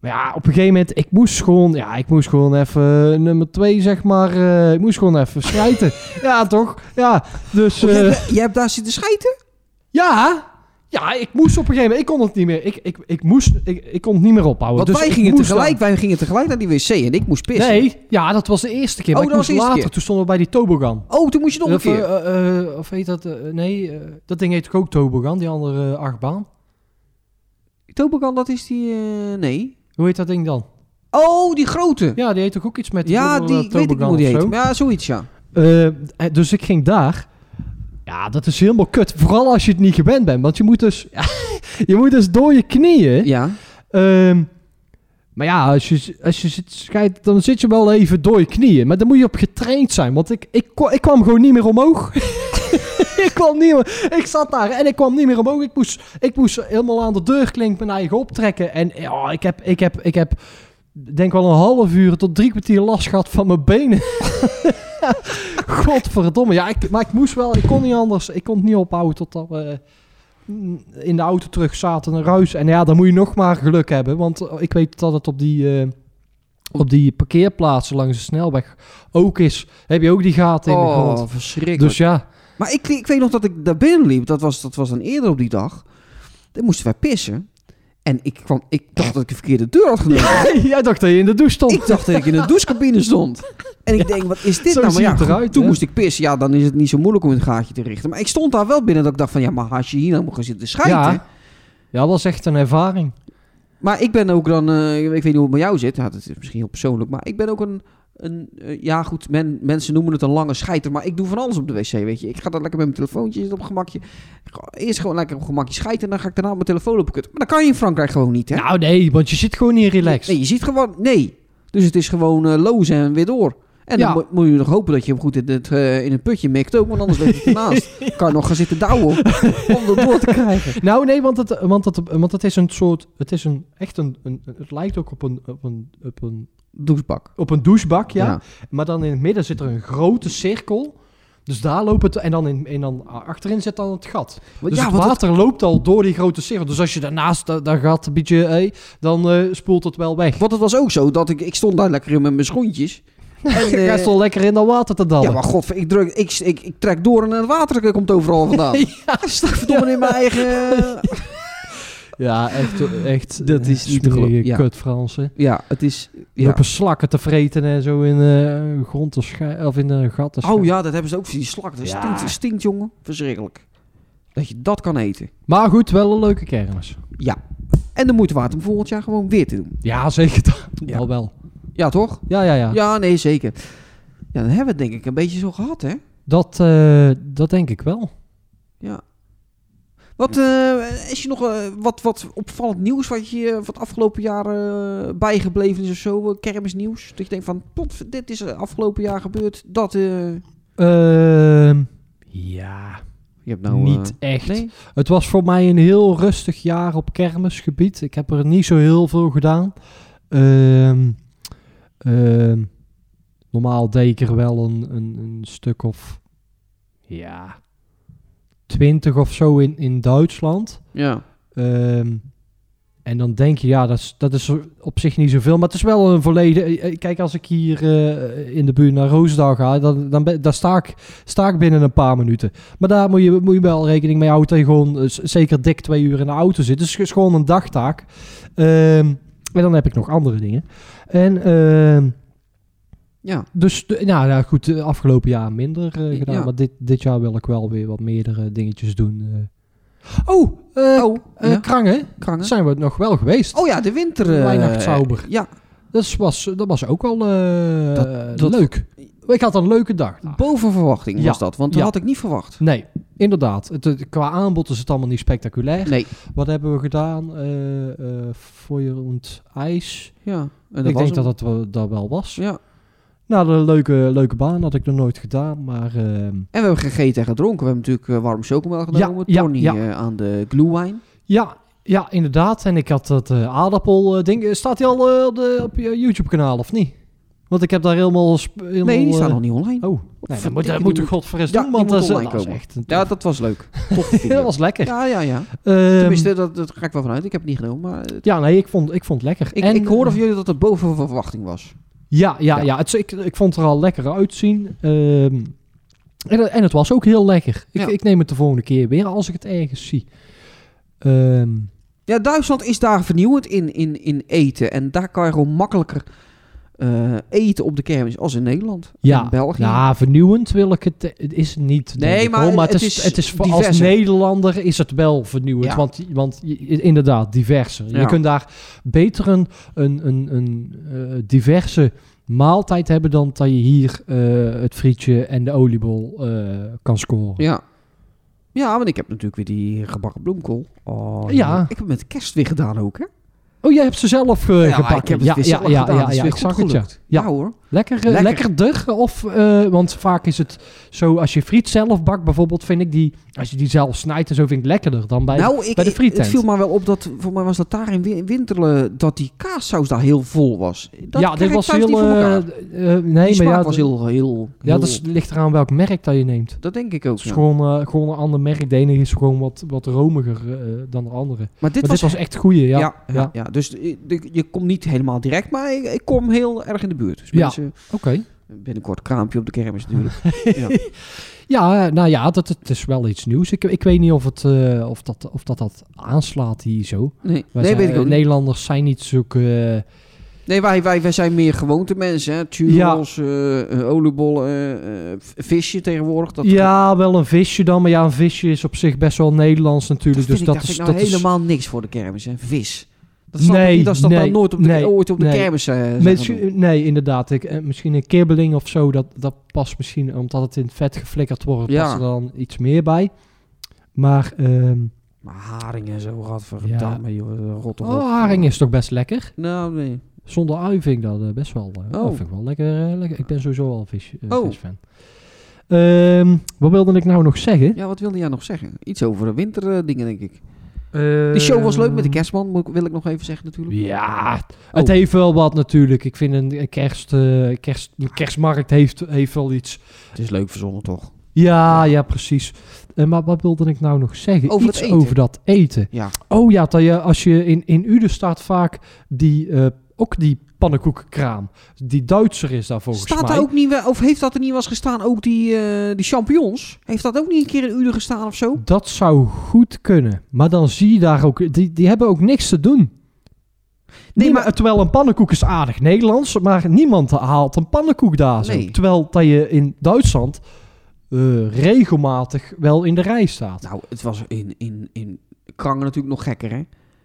C: maar ja, op een gegeven moment, ik moest gewoon, ja, ik moest gewoon even eh, nummer twee, zeg maar, eh, ik moest gewoon even schijten. ja, toch? Ja, dus...
D: je,
C: eh, Oh,
D: hebt, je hebt daar zitten schijten?
C: ja, ja, ik moest op een gegeven moment, ik kon het niet meer, ik, ik, ik moest, ik, ik kon het niet meer ophouden.
D: Want
C: dus
D: wij,
C: ik
D: gingen
C: moest dan-
D: tegelijk, wij gingen tegelijk naar die wc en ik moest pissen.
C: Nee, ja, dat was de eerste keer,
D: Oh,
C: maar ik
D: dat was
C: moest
D: de eerste
C: later,
D: keer.
C: toen stonden we bij die tobogan.
D: Oh, toen moest je nog een
C: Of,
D: keer.
C: eh, eh, of heet dat? eh, nee, eh, dat ding heet toch ook Tobogan, die andere eh, achtbaan.
D: Tobogan, dat is die... eh, nee.
C: Hoe heet dat ding dan?
D: Oh, die grote. Ja,
C: Ja, die heet toch ook iets met
D: die ik weet ik niet hoe die heet. Maar Ja, zoiets, ja.
C: dus ik ging daar. Ja, dat is helemaal kut. Vooral als je het niet gewend bent. Want je moet dus, je moet dus door je knieën.
D: Ja.
C: Ehm, maar ja, als je, als je zit scheidt, dan zit je wel even door je knieën. Maar daar moet je op getraind zijn. Want ik, ik, kwa- ik kwam gewoon niet meer omhoog. ik kwam niet meer... Ik zat daar en ik kwam niet meer omhoog. Ik moest, ik moest helemaal aan de deurklink mijn eigen optrekken. En ja, ik heb... Ik heb, ik heb denk wel een half uur tot drie kwartier last gehad van mijn benen. Godverdomme. Ja, ik, maar ik moest wel... Ik kon niet anders. Ik kon het niet ophouden totdat we mm, in de auto terug zaten naar huis. En ja, dan moet je nog maar geluk hebben. Want eh, ik weet dat het op die, eh, op die parkeerplaatsen langs de snelweg ook is. Heb je ook die gaten in de grond.
D: Oh, verschrikkelijk.
C: Dus ja,
D: Maar ik, ik weet nog dat ik daar binnen liep. Dat was, dat was dan eerder op die dag. Dan moesten wij pissen. En ik, kwam, ik dacht dat ik de verkeerde deur had genomen.
C: jij dacht dat je in de douche stond.
D: Ik dacht dat ik in de douchecabine stond. En ik denk, wat is dit
C: Zo
D: nou? Maar
C: ziet
D: ja,
C: het
D: goed,
C: eruit,
D: toen
C: hè?
D: moest ik pissen. Ja, dan is het niet zo moeilijk om het gaatje te richten. Maar ik stond daar wel binnen dat ik dacht van... Ja, maar als je hier nou moet gaan zitten schijten...
C: ja. ja, dat was echt een ervaring.
D: Maar ik ben ook dan, eh, ik weet niet hoe het met jou zit, ja, dat is misschien heel persoonlijk, maar ik ben ook een, een eh, ja goed, men, mensen noemen het een lange scheiter, maar ik doe van alles op de wc, weet je. Ik ga dan lekker met mijn telefoontje zitten op een gemakje. Gewoon- Eerst gewoon lekker op een gemakje scheiten en dan ga ik daarna op mijn telefoon op kut. Maar dat kan je in Frankrijk gewoon niet, hè?
C: Nou nee, want je zit gewoon niet relaxed.
D: Nee, je ziet gewoon, nee. Dus het is gewoon eh lozen en weer door. En
C: Ja.
D: dan mo- moet je nog hopen dat je hem goed in het, eh, in het putje mikt ook, want anders ligt het ernaast. Kan je nog gaan zitten douwen om dat door te krijgen.
C: Nou nee, want het, want het, want het is een soort, het is een, echt een, een het lijkt ook op een, op een, op een,
D: Douchebak.
C: op een douchebak, ja.
D: ja.
C: Maar dan in het midden zit er een grote cirkel. Dus daar loopt het. En dan, in, en dan achterin zit dan het gat.
D: Want-
C: dus
D: ja,
C: het
D: want dat-
C: water loopt al door die grote cirkel. Dus als je daarnaast dat, dat gat een beetje. eh, dan eh, spoelt het wel weg.
D: Want het was ook zo dat ik, ik stond daar lekker in met mijn schoentjes. En,
C: Jij
D: eh,
C: stond lekker in dat water te dallen.
D: ja, maar god, ik, druk, ik, ik, ik trek door en het water komt overal vandaan. ja, verdomme in mijn eigen...
C: Ja, echt. echt
D: Dat is
C: eh,
D: niet te geloven,
C: smerige
D: ja.
C: Kut Fransen.
D: Ja, het is... Ja.
C: Lopen slakken te vreten en zo in eh grond te schij- Of in een gat te
D: Oh
C: schij-
D: ja, dat hebben ze ook voor die slak. Dat
C: Ja.
D: stinkt, stinkt, jongen. Verschrikkelijk. Dat je dat kan eten.
C: Maar goed, wel een leuke kermis.
D: Ja. En de moeite waard om volgend jaar gewoon weer te doen.
C: Ja, zeker. Dat
D: Ja.
C: wel wel.
D: Ja, toch?
C: Ja, ja, ja.
D: Ja, nee, zeker. Ja, dan hebben we het denk ik een beetje zo gehad, hè?
C: Dat, eh, dat denk ik wel.
D: Wat eh, is je nog eh, wat, wat opvallend nieuws wat je eh, van het afgelopen jaar eh, bijgebleven is of zo? eh, kermisnieuws? Dat je denkt van, pot, dit is eh, afgelopen jaar gebeurd. Dat, eh,
C: Ehm, ja,
D: je hebt nou...
C: niet echt.
D: Nee?
C: Het was voor mij een heel rustig jaar op kermisgebied. Ik heb er niet zo heel veel gedaan. Ehm, ehm, normaal deed ik er wel een, een, een stuk of... Ja... Twintig of zo in, in Duitsland.
D: Ja.
C: Ehm, en dan denk je, ja, dat is, dat is op zich niet zoveel. Maar het is wel een verleden. eh, eh, Kijk, als ik hier eh, in de buurt naar Roosendaal ga, dan, dan, ben- daar sta ik, sta ik binnen een paar minuten. Maar daar moet je, moet je wel rekening mee houden dat je gewoon eh, z- zeker dik twee uur in de auto zit. Dus het is gewoon een dagtaak. Ehm, en dan heb ik nog andere dingen. En ehm,
D: Ja.
C: dus, de- nou ja, goed, eh, afgelopen jaar minder eh, gedaan.
D: Ja.
C: Maar dit, dit jaar wil ik wel weer wat meerdere dingetjes doen. eh. Oh, eh,
D: Oh,
C: eh,
D: ja.
C: Krangen.
D: Krangen.
C: Zijn we nog wel geweest?
D: Oh ja, de winter... eh,
C: Weihnachtszauber.
D: Ja,
C: Dat, is- was, dat was ook wel eh,
D: dat- Ah.
C: leuk. Ik had een leuke dag.
D: boven verwachting was
C: Ja.
D: dat. Want dat
C: Ja.
D: had ik niet verwacht.
C: Nee, inderdaad. Het, het- qua aanbod is het allemaal niet spectaculair.
D: Nee.
C: Wat hebben we gedaan? eh eh voor je rond ijs.
D: Ja. En dat
C: ik
D: was
C: denk
D: hem.
C: dat dat wel, dat wel was.
D: Ja.
C: Nou, de leuke, leuke baan had ik nog nooit gedaan. Maar ehm,
D: En we hebben gegeten en gedronken. We hebben natuurlijk eh, warm chocomel genomen.
C: ja,
D: Tony
C: ja.
D: eh, aan de glühwein.
C: ja, ja, inderdaad. En ik had dat eh, aardappel eh, ding. Eh, Staat die al eh, op de- op je YouTube kanaal of niet? Want ik heb daar helemaal... sp- helemaal
D: Nee, die
C: eh,
D: staan nog niet online.
C: Oh, nee, dat moet, dat moet
D: die
C: de
D: moet-
C: godverrest
D: Ja,
C: doen,
D: die
C: want
D: moet
C: dat is,
D: online
C: dat is
D: komen.
C: echt... een-
D: Ja, dat was leuk. Tof video.
C: dat was lekker.
D: Ja, ja, ja.
C: Ehm,
D: Tenminste, dat, dat ga ik wel vanuit. Ik heb het niet genomen, maar... het-
C: ja, nee, ik vond, ik vond het lekker.
D: Ik,
C: En,
D: ik hoorde
C: eh,
D: van jullie dat het boven verwachting was.
C: Ja, ja,
D: Ja.
C: ja. het, ik, ik vond het er al lekker uitzien. Ehm, en, en het was ook heel lekker. Ik,
D: Ja.
C: ik neem het de volgende keer weer als ik het ergens zie. Ehm,
D: Ja, Duitsland is daar vernieuwend in, in, in eten. En daar kan je gewoon makkelijker eh, eten op de kermis als in Nederland.
C: ja,
D: In België.
C: ja, vernieuwend wil ik het. Het is het niet.
D: Nee,
C: denk ik,
D: maar
C: hoor. maar
D: het
C: het,
D: is
C: is, het is voor als
D: diverser.
C: Nederlander is het wel vernieuwend.
D: Ja.
C: Want, want je- inderdaad, diverser.
D: Ja.
C: Je kunt daar beter een, een, een, een eh, diverse maaltijd hebben dan dat je hier eh, het frietje en de oliebol eh, kan scoren.
D: Ja. Ja, want ik heb natuurlijk weer die gebakken bloemkool. Oh,
C: Ja.
D: Ik heb het met kerst weer gedaan ook, hè?
C: Oh, jij hebt ze zelf eh
D: Ja,
C: gepakt.
D: ik heb het weer zelf
C: ja,
D: gedaan.
C: Ja,
D: Het
C: ja,
D: is weer
C: ik
D: goed
C: zag het, ja.
D: gelukt.
C: Ja.
D: hoor.
C: Lekker, eh,
D: Lekker.
C: lekkerder. Of, eh, want vaak is het zo, als je friet zelf bakt bijvoorbeeld, vind ik die, als je die zelf snijdt en zo, vind ik lekkerder dan bij,
D: nou, ik,
C: bij de
D: ik- het
C: frietent.
D: viel maar wel op dat, voor mij was dat daar in Win- Winterle, dat die kaassaus daar heel vol was. Dat
C: ja,
D: krijg
C: dit
D: ik
C: was
D: thuis niet
C: heel...
D: voor
C: eh,
D: elkaar.
C: eh,
D: die
C: nee, maar
D: smaak
C: ja,
D: was heel, heel,
C: ja, dat
D: heel-
C: is, ligt eraan welk merk dat je neemt.
D: dat denk ik ook.
C: Het is
D: ja.
C: gewoon, eh, gewoon een ander merk. De ene is gewoon wat, wat romiger eh, dan de andere. Maar
D: Maar dit was,
C: dit was echt goeie, ja.
D: ja, ja,
C: ja.
D: ja. dus eh, de- je komt niet helemaal direct, maar ik, ik kom heel erg in de buurt. Dus
C: Ja.
D: mensen,
C: Oké.
D: binnenkort kraampje op de kermis natuurlijk.
C: Ja, eh, nou ja, dat, het is wel iets nieuws. Ik, ik weet niet of, het, eh, of, dat, of dat dat aanslaat hier zo.
D: Nee,
C: Wij
D: nee
C: zijn- eh,
D: weet ik ook niet.
C: Nederlanders zijn niet zulke... eh,
D: Nee, wij, wij, wij zijn meer gewoonte mensen. Hè? Churros, eh, eh, oliebollen, eh, eh, v- visje tegenwoordig. Dat,
C: ja, wel een visje dan. Maar ja, een visje is op zich best wel Nederlands
D: dat
C: natuurlijk.
D: vind
C: dus
D: ik,
C: dat
D: dat
C: is...
D: vind ik nou
C: dat is-
D: helemaal niks voor de kermis. Hè? Vis. Dat snap
C: Nee,
D: ik niet, dat is dan
C: nee,
D: wel nooit op de,
C: nee,
D: ooit op de
C: nee.
D: kermis. eh, zijn
C: Misschien-
D: gaan doen.
C: nee, inderdaad. Ik, eh, misschien een kibbeling of zo. Dat, dat past misschien, omdat het in het vet geflikkerd wordt,
D: Ja.
C: past er dan iets meer bij. Maar ehm
D: maar haringen en zo,
C: Ja.
D: gadverdamme, joh, rot op.
C: oh, haring is toch best lekker.
D: Nou, nee.
C: Zonder ui vind ik dat eh, best wel, eh, dat vind ik wel lekker, eh, lekker. Ik ben sowieso al vis, eh,
D: Oh.
C: visfan. Ehm, wat wilde ik nou nog zeggen?
D: Ja, wat wilde jij nog zeggen? Iets over de winterdingen, denk ik. De show was leuk met de kerstman, moet ik- wil ik nog even zeggen natuurlijk.
C: Ja,
D: Oh.
C: het heeft wel wat natuurlijk. Ik vind een een kerst, eh, kerst, een kerstmarkt heeft, heeft wel iets.
D: Het is leuk verzonnen, toch?
C: Ja, ja, precies. Eh, maar wat wilde ik nou nog zeggen?
D: Over het
C: iets
D: eten.
C: over dat eten.
D: Ja.
C: Oh ja, dat je, als je in, in Uden staat vaak die, eh, ook die pannenkoekenkraam. Die Duitser is daar volgens
D: Staat
C: mij.
D: daar ook niet, wel- of heeft dat er niet wel eens gestaan, ook die, eh, die champignons? Heeft dat ook niet een keer in Uden gestaan of zo?
C: Dat zou goed kunnen. Maar dan zie je daar ook... Die, die hebben ook niks te doen. Nee, maar...
D: maar-
C: Terwijl een pannenkoek is aardig Nederlands, maar niemand haalt een pannenkoek daar zo.
D: Nee.
C: Terwijl dat je in Duitsland eh, regelmatig wel in de rij staat.
D: Nou, het was in, in, in Krangen natuurlijk nog gekker, hè?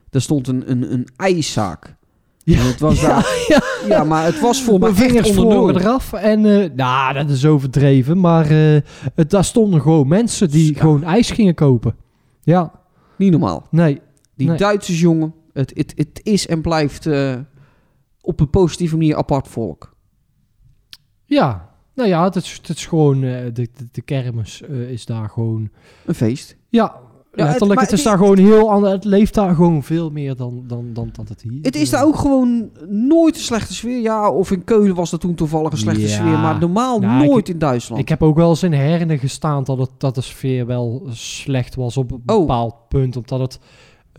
D: Daar stond een, een, een ijszaak.
C: Ja,
D: En het was
C: ja,
D: daar, ja. maar het was voor mij
C: Mijn
D: echt
C: vingers
D: onder nul.
C: vlogen eraf en... eh, nou, dat is overdreven, maar eh, het, daar stonden gewoon mensen die
D: Ja.
C: gewoon ijs gingen kopen. Ja,
D: Niet normaal.
C: Nee,
D: Die
C: Nee.
D: Duitsers, jongen. Het, het, het is en blijft eh, op een positieve manier apart volk.
C: ja. Nou ja, het is, het is gewoon, eh, de, de, de kermis eh, is daar gewoon...
D: Een feest.
C: Ja,
D: het-
C: letterlijk,
D: maar
C: het, is
D: het-
C: daar gewoon heel ander. Het leeft daar gewoon veel meer dan, dan, dan dat het hier
D: Het is daar ook gewoon nooit een slechte sfeer. Ja, of in Keulen was dat toen toevallig een slechte
C: Ja.
D: sfeer. Maar normaal
C: Nou, ik-
D: nooit in Duitsland.
C: Ik heb ook wel eens in hernen gestaan dat, het, dat de sfeer wel slecht was op een
D: Oh.
C: bepaald punt. Omdat het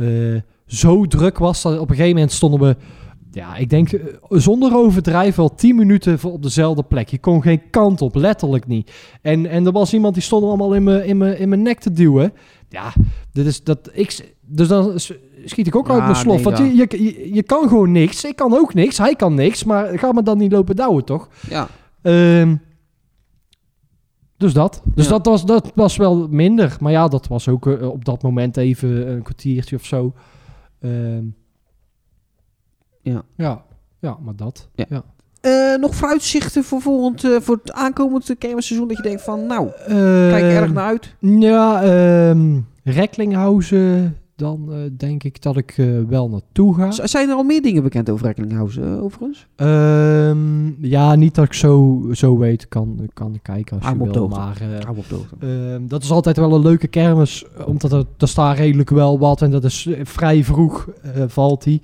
C: eh, zo druk was dat op een gegeven moment stonden we, ja, ik denk eh, zonder overdrijven wel 10 minuten voor op dezelfde plek. Je kon geen kant op, letterlijk niet. En, en er was iemand die stond allemaal in mijn, in mijn, in mijn nek te duwen. Ja, dit is dat ik. Dus dan s- schiet ik ook
D: Ja,
C: uit mijn slof.
D: nee,
C: want
D: ja.
C: je, je, je, je kan gewoon niks. Ik kan ook niks. Hij kan niks. Maar ga me dan niet lopen douwen, toch?
D: Ja.
C: Ehm, dus dat. Dus
D: Ja.
C: dat, was, dat was wel minder. Maar ja, dat was ook eh, op dat moment even een kwartiertje of zo. Ehm,
D: Ja.
C: ja. Ja, maar dat.
D: Ja. Eh, nog vooruitzichten voor, volgend, eh, voor het aankomend kermisseizoen? Dat je denkt van, nou, kijk
C: Ehm,
D: erg naar uit.
C: Ja, ehm Recklinghausen. Dan eh, denk ik dat ik eh, wel naartoe ga.
D: Z- Zijn er al meer dingen bekend over Recklinghausen, eh, overigens?
C: Ehm, ja, niet dat ik zo, zo weet. Kan, kan kijken als
D: Hou me
C: je
D: op
C: wil.
D: de
C: Maar eh,
D: Hou me op de hoogte.
C: Ehm, dat is altijd wel een leuke kermis, omdat er, er staat redelijk wel wat en dat is eh, vrij vroeg eh, valt die.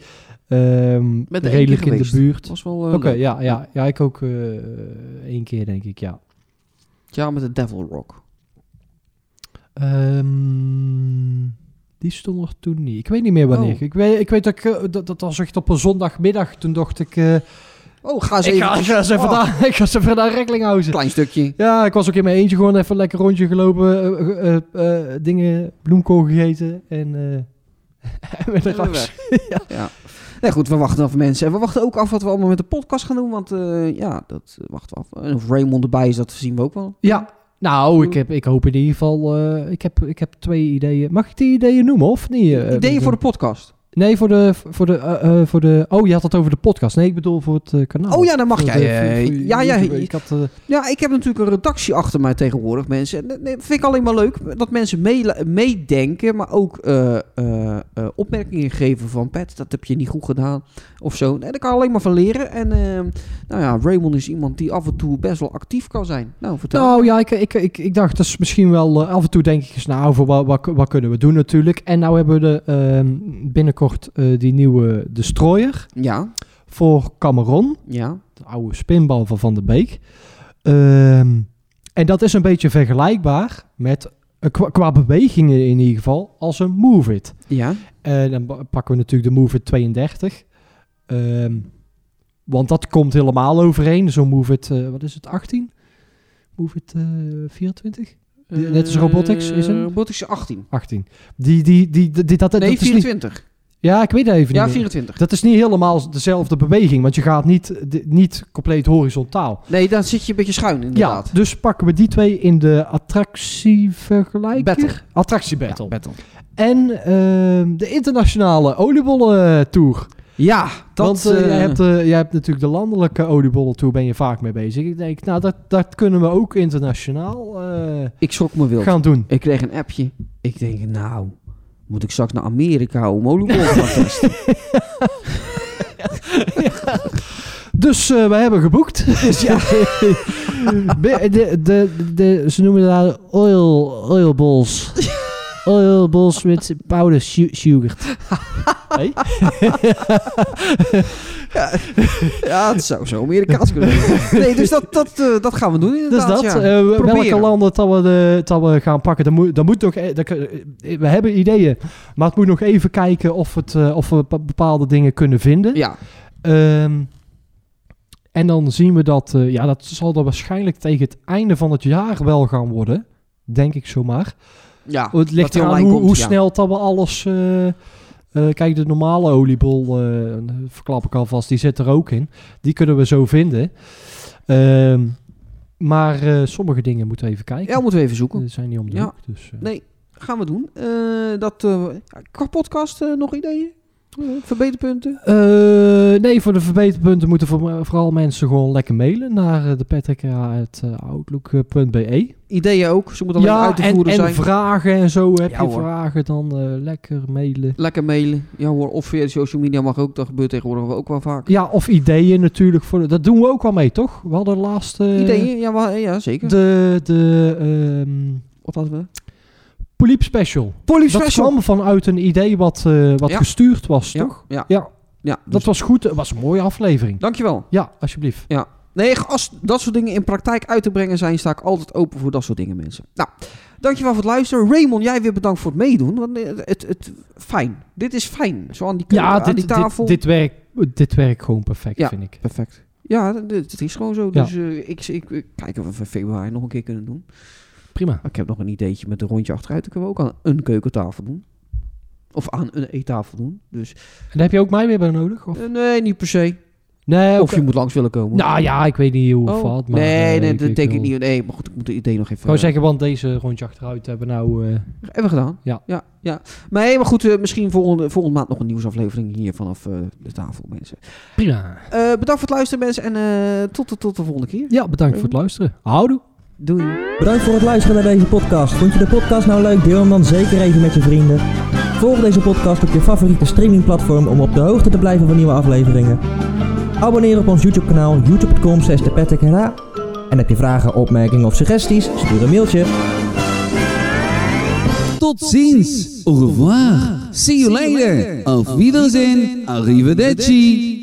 C: Ehm,
D: Ben er één
C: redelijk
D: keer
C: in de
D: geweest.
C: buurt.
D: was wel... eh,
C: Oké,
D: Oké. ja.
C: ja, ja, ja, ik ook eh, één keer denk ik, ja.
D: met de Devil Rock.
C: Ehm, die stond er toen niet. Ik weet niet meer wanneer.
D: Oh.
C: Ik, weet, ik weet dat, ik, eh, dat dat was echt op een zondagmiddag. Toen dacht ik, eh,
D: Oh, ga eens
C: ik
D: even...
C: ga ik ga eens even
D: Oh,
C: naar, ik ga eens even naar Recklinghausen.
D: Klein stukje.
C: Ja, ik was ook in mijn eentje gewoon even lekker rondje gelopen, eh, eh, eh, eh, dingen, bloemkool gegeten en eh, en weer naar
D: Weer
C: huis.
D: Nee, goed, we wachten af mensen. En we wachten ook af wat we allemaal met de podcast gaan doen. Want eh, ja, dat eh, wachten we af. En of Raymond erbij is, dat zien we ook wel.
C: Ja, nou, ik, heb, ik hoop in ieder geval, eh, ik, heb, ik heb twee ideeën. Mag ik die ideeën noemen of niet? eh,
D: Ideeën
C: bedoel-
D: voor de podcast.
C: Nee, voor de, voor, de, eh, eh, voor de, oh je had het over de podcast. Nee, ik bedoel voor het eh, kanaal.
D: Oh ja, dan mag
C: Voor
D: jij.
C: de-
D: eh,
C: voor- voor
D: ja, ja,
C: YouTube. Ik had, eh,
D: ja, ik heb natuurlijk een redactie achter mij tegenwoordig, mensen. En dat nee, vind ik alleen maar leuk dat mensen mee- meedenken, maar ook eh, eh, eh, opmerkingen geven van... Pet, dat heb je niet goed gedaan, of zo. En daar kan ik alleen maar van leren. En eh, nou ja, Raymond is iemand die af en toe best wel actief kan zijn. Nou, vertel.
C: Nou ja, ik, ik, ik, ik dacht, dat is misschien wel... eh, af en toe denk ik eens na over wat, wat, wat kunnen we doen natuurlijk. En nou hebben we de, ehm, binnenkort eh, die nieuwe De Strooier
D: Ja,
C: voor Cameron.
D: ja.
C: De oude spinbal van Van der Beek. Ehm, en dat is een beetje vergelijkbaar met... eh, qua, qua bewegingen in ieder geval, als een Move It.
D: Ja,
C: En Eh, dan pa- pakken we natuurlijk de Move It 32. Ehm, want dat komt helemaal overeen. Zo'n Move It, eh, wat is het, 18? Move It eh, 24? Die- net als robotics, is hem?
D: Eh, Robotics 18.
C: 18. Die, die, die, die, dat, dat
D: Nee,
C: is niet,
D: 24.
C: ja, ik weet het even
D: Ja,
C: niet meer.
D: 24.
C: Dat is niet helemaal dezelfde beweging, want je gaat niet, di- niet compleet horizontaal.
D: Nee, dan zit je een beetje schuin inderdaad.
C: Ja, dus pakken we die twee in de attractievergelijker.
D: Battle.
C: Attractiebattle.
D: Ja, battle.
C: En ehm, de internationale oliebollen tour.
D: Ja, dat...
C: Want eh,
D: eh,
C: jij, hebt, eh, jij hebt natuurlijk de landelijke oliebollen tour, ben je vaak mee bezig. Ik denk, nou, dat, dat kunnen we ook internationaal eh,
D: ik schrok me wild.
C: gaan doen.
D: Ik kreeg een appje. Ik denk, nou, moet ik straks naar Amerika om oliebollen te gaan testen?
C: Dus eh, we hebben geboekt. Dus, ja. de, de, de, de- ze noemen daar oil, oil balls. Oil balls met powder su- sugar. Hey?
D: ja, het zou zo Amerikaans kunnen worden. Nee, dus dat, dat, eh, dat gaan we doen
C: Dus
D: inderdaad,
C: dat,
D: ja.
C: eh, we- welke
D: Proberen.
C: landen dat we, de, dat we gaan pakken, dat moet, dat moet nog, e- dat, kun- eh, we hebben ideeën, maar het moet nog even kijken of, het, eh, of we be- bepaalde dingen kunnen vinden.
D: Ja,
C: Ehm, en dan zien we dat, eh, ja, dat zal dan waarschijnlijk tegen het einde van het jaar wel gaan worden. Denk ik zomaar.
D: ja.
C: het
D: dat
C: ligt
D: die
C: eraan
D: online
C: hoe,
D: komt,
C: hoe
D: ja.
C: snel dat we alles... eh, eh, kijk, de normale oliebol, eh, verklap ik alvast, die zit er ook in. Die kunnen we zo vinden. Ehm, maar eh, sommige dingen moeten we even kijken.
D: Ja, moeten we even zoeken.
C: Die zijn niet om de
D: Ja.
C: hoek. Dus, eh.
D: Nee, gaan we doen. Eh, dat, eh, qua podcast eh, nog ideeën? Verbeterpunten?
C: Eh, nee, voor de verbeterpunten moeten voor- vooral mensen gewoon lekker mailen naar eh, de eh, patrick.outlook.be.
D: Ideeën ook. Ze moeten alleen
C: Ja,
D: uit te
C: en,
D: voeren
C: en
D: zijn.
C: vragen en zo. Heb
D: Ja,
C: je
D: hoor.
C: vragen, dan eh, lekker mailen.
D: Lekker mailen. Ja hoor, of via de social media mag ook. Dat gebeurt tegenwoordig ook wel vaak.
C: Ja, of ideeën natuurlijk. Voor de- dat doen we ook wel mee, toch? We hadden laatst eh,
D: Ideeën? Ja, wa- ja zeker.
C: de, de ehm
D: Wat hadden we?
C: Poliep Special.
D: Police
C: Dat kwam vanuit een idee wat, eh, wat
D: Ja.
C: gestuurd was,
D: Ja,
C: toch?
D: ja.
C: Ja.
D: ja dus
C: Dat was goed. Het was een mooie aflevering.
D: Dankjewel.
C: Ja, alsjeblieft.
D: Nee, als dat soort dingen in praktijk uit te brengen zijn, sta ik altijd open voor dat soort dingen, mensen. Nou, dankjewel voor het luisteren. Raymond, jij weer bedankt voor het meedoen. Want eh, het, het, fijn. Dit is fijn. Zo aan die,
C: Ja,
D: aan
C: dit,
D: die
C: dit,
D: tafel.
C: dit, werkt, dit werkt gewoon perfect,
D: Ja.
C: vind ik.
D: Perfect. Ja, dit, dit is gewoon zo.
C: Ja.
D: Dus eh, ik, ik, ik kijk of we in februari nog een keer kunnen doen.
C: Prima.
D: Ik heb nog een ideetje met een rondje achteruit. Dan kunnen we ook aan een keukentafel doen. Of aan een eettafel doen. Dus,
C: En daar heb je ook mij weer bij nodig? Of?
D: eh, nee, niet per se.
C: Nee,
D: Of je moet langs willen komen.
C: Nou ja, ik weet niet hoe of
D: Oh.
C: wat. Maar,
D: nee,
C: eh,
D: nee, dat denk ik
C: wil
D: niet. Nee, maar goed, ik moet het idee nog even...
C: Gewoon zeggen, want deze rondje achteruit hebben we nou... eh,
D: Hebben we gedaan.
C: Ja.
D: Ja, ja. Maar, hey, maar goed, eh, misschien volgende, volgende maand nog een nieuwsaflevering hier vanaf eh, de tafel, mensen.
C: prima.
D: Eh, bedankt voor het luisteren, mensen. En eh, tot, de- tot de volgende keer.
C: Ja, bedankt voor het luisteren. Houdoe.
D: Doei.
A: Bedankt voor het luisteren naar deze podcast. Vond je de podcast nou leuk? Deel hem dan zeker even met je vrienden. Volg deze podcast op je favoriete streamingplatform om op de hoogte te blijven van nieuwe afleveringen. Abonneer op ons YouTube kanaal youtube.com slash thepatrickhera. En heb je vragen, opmerkingen of suggesties? Stuur een mailtje.
E: Tot ziens. Au revoir. See you later. Auf Wiedersehen. Arrivederci.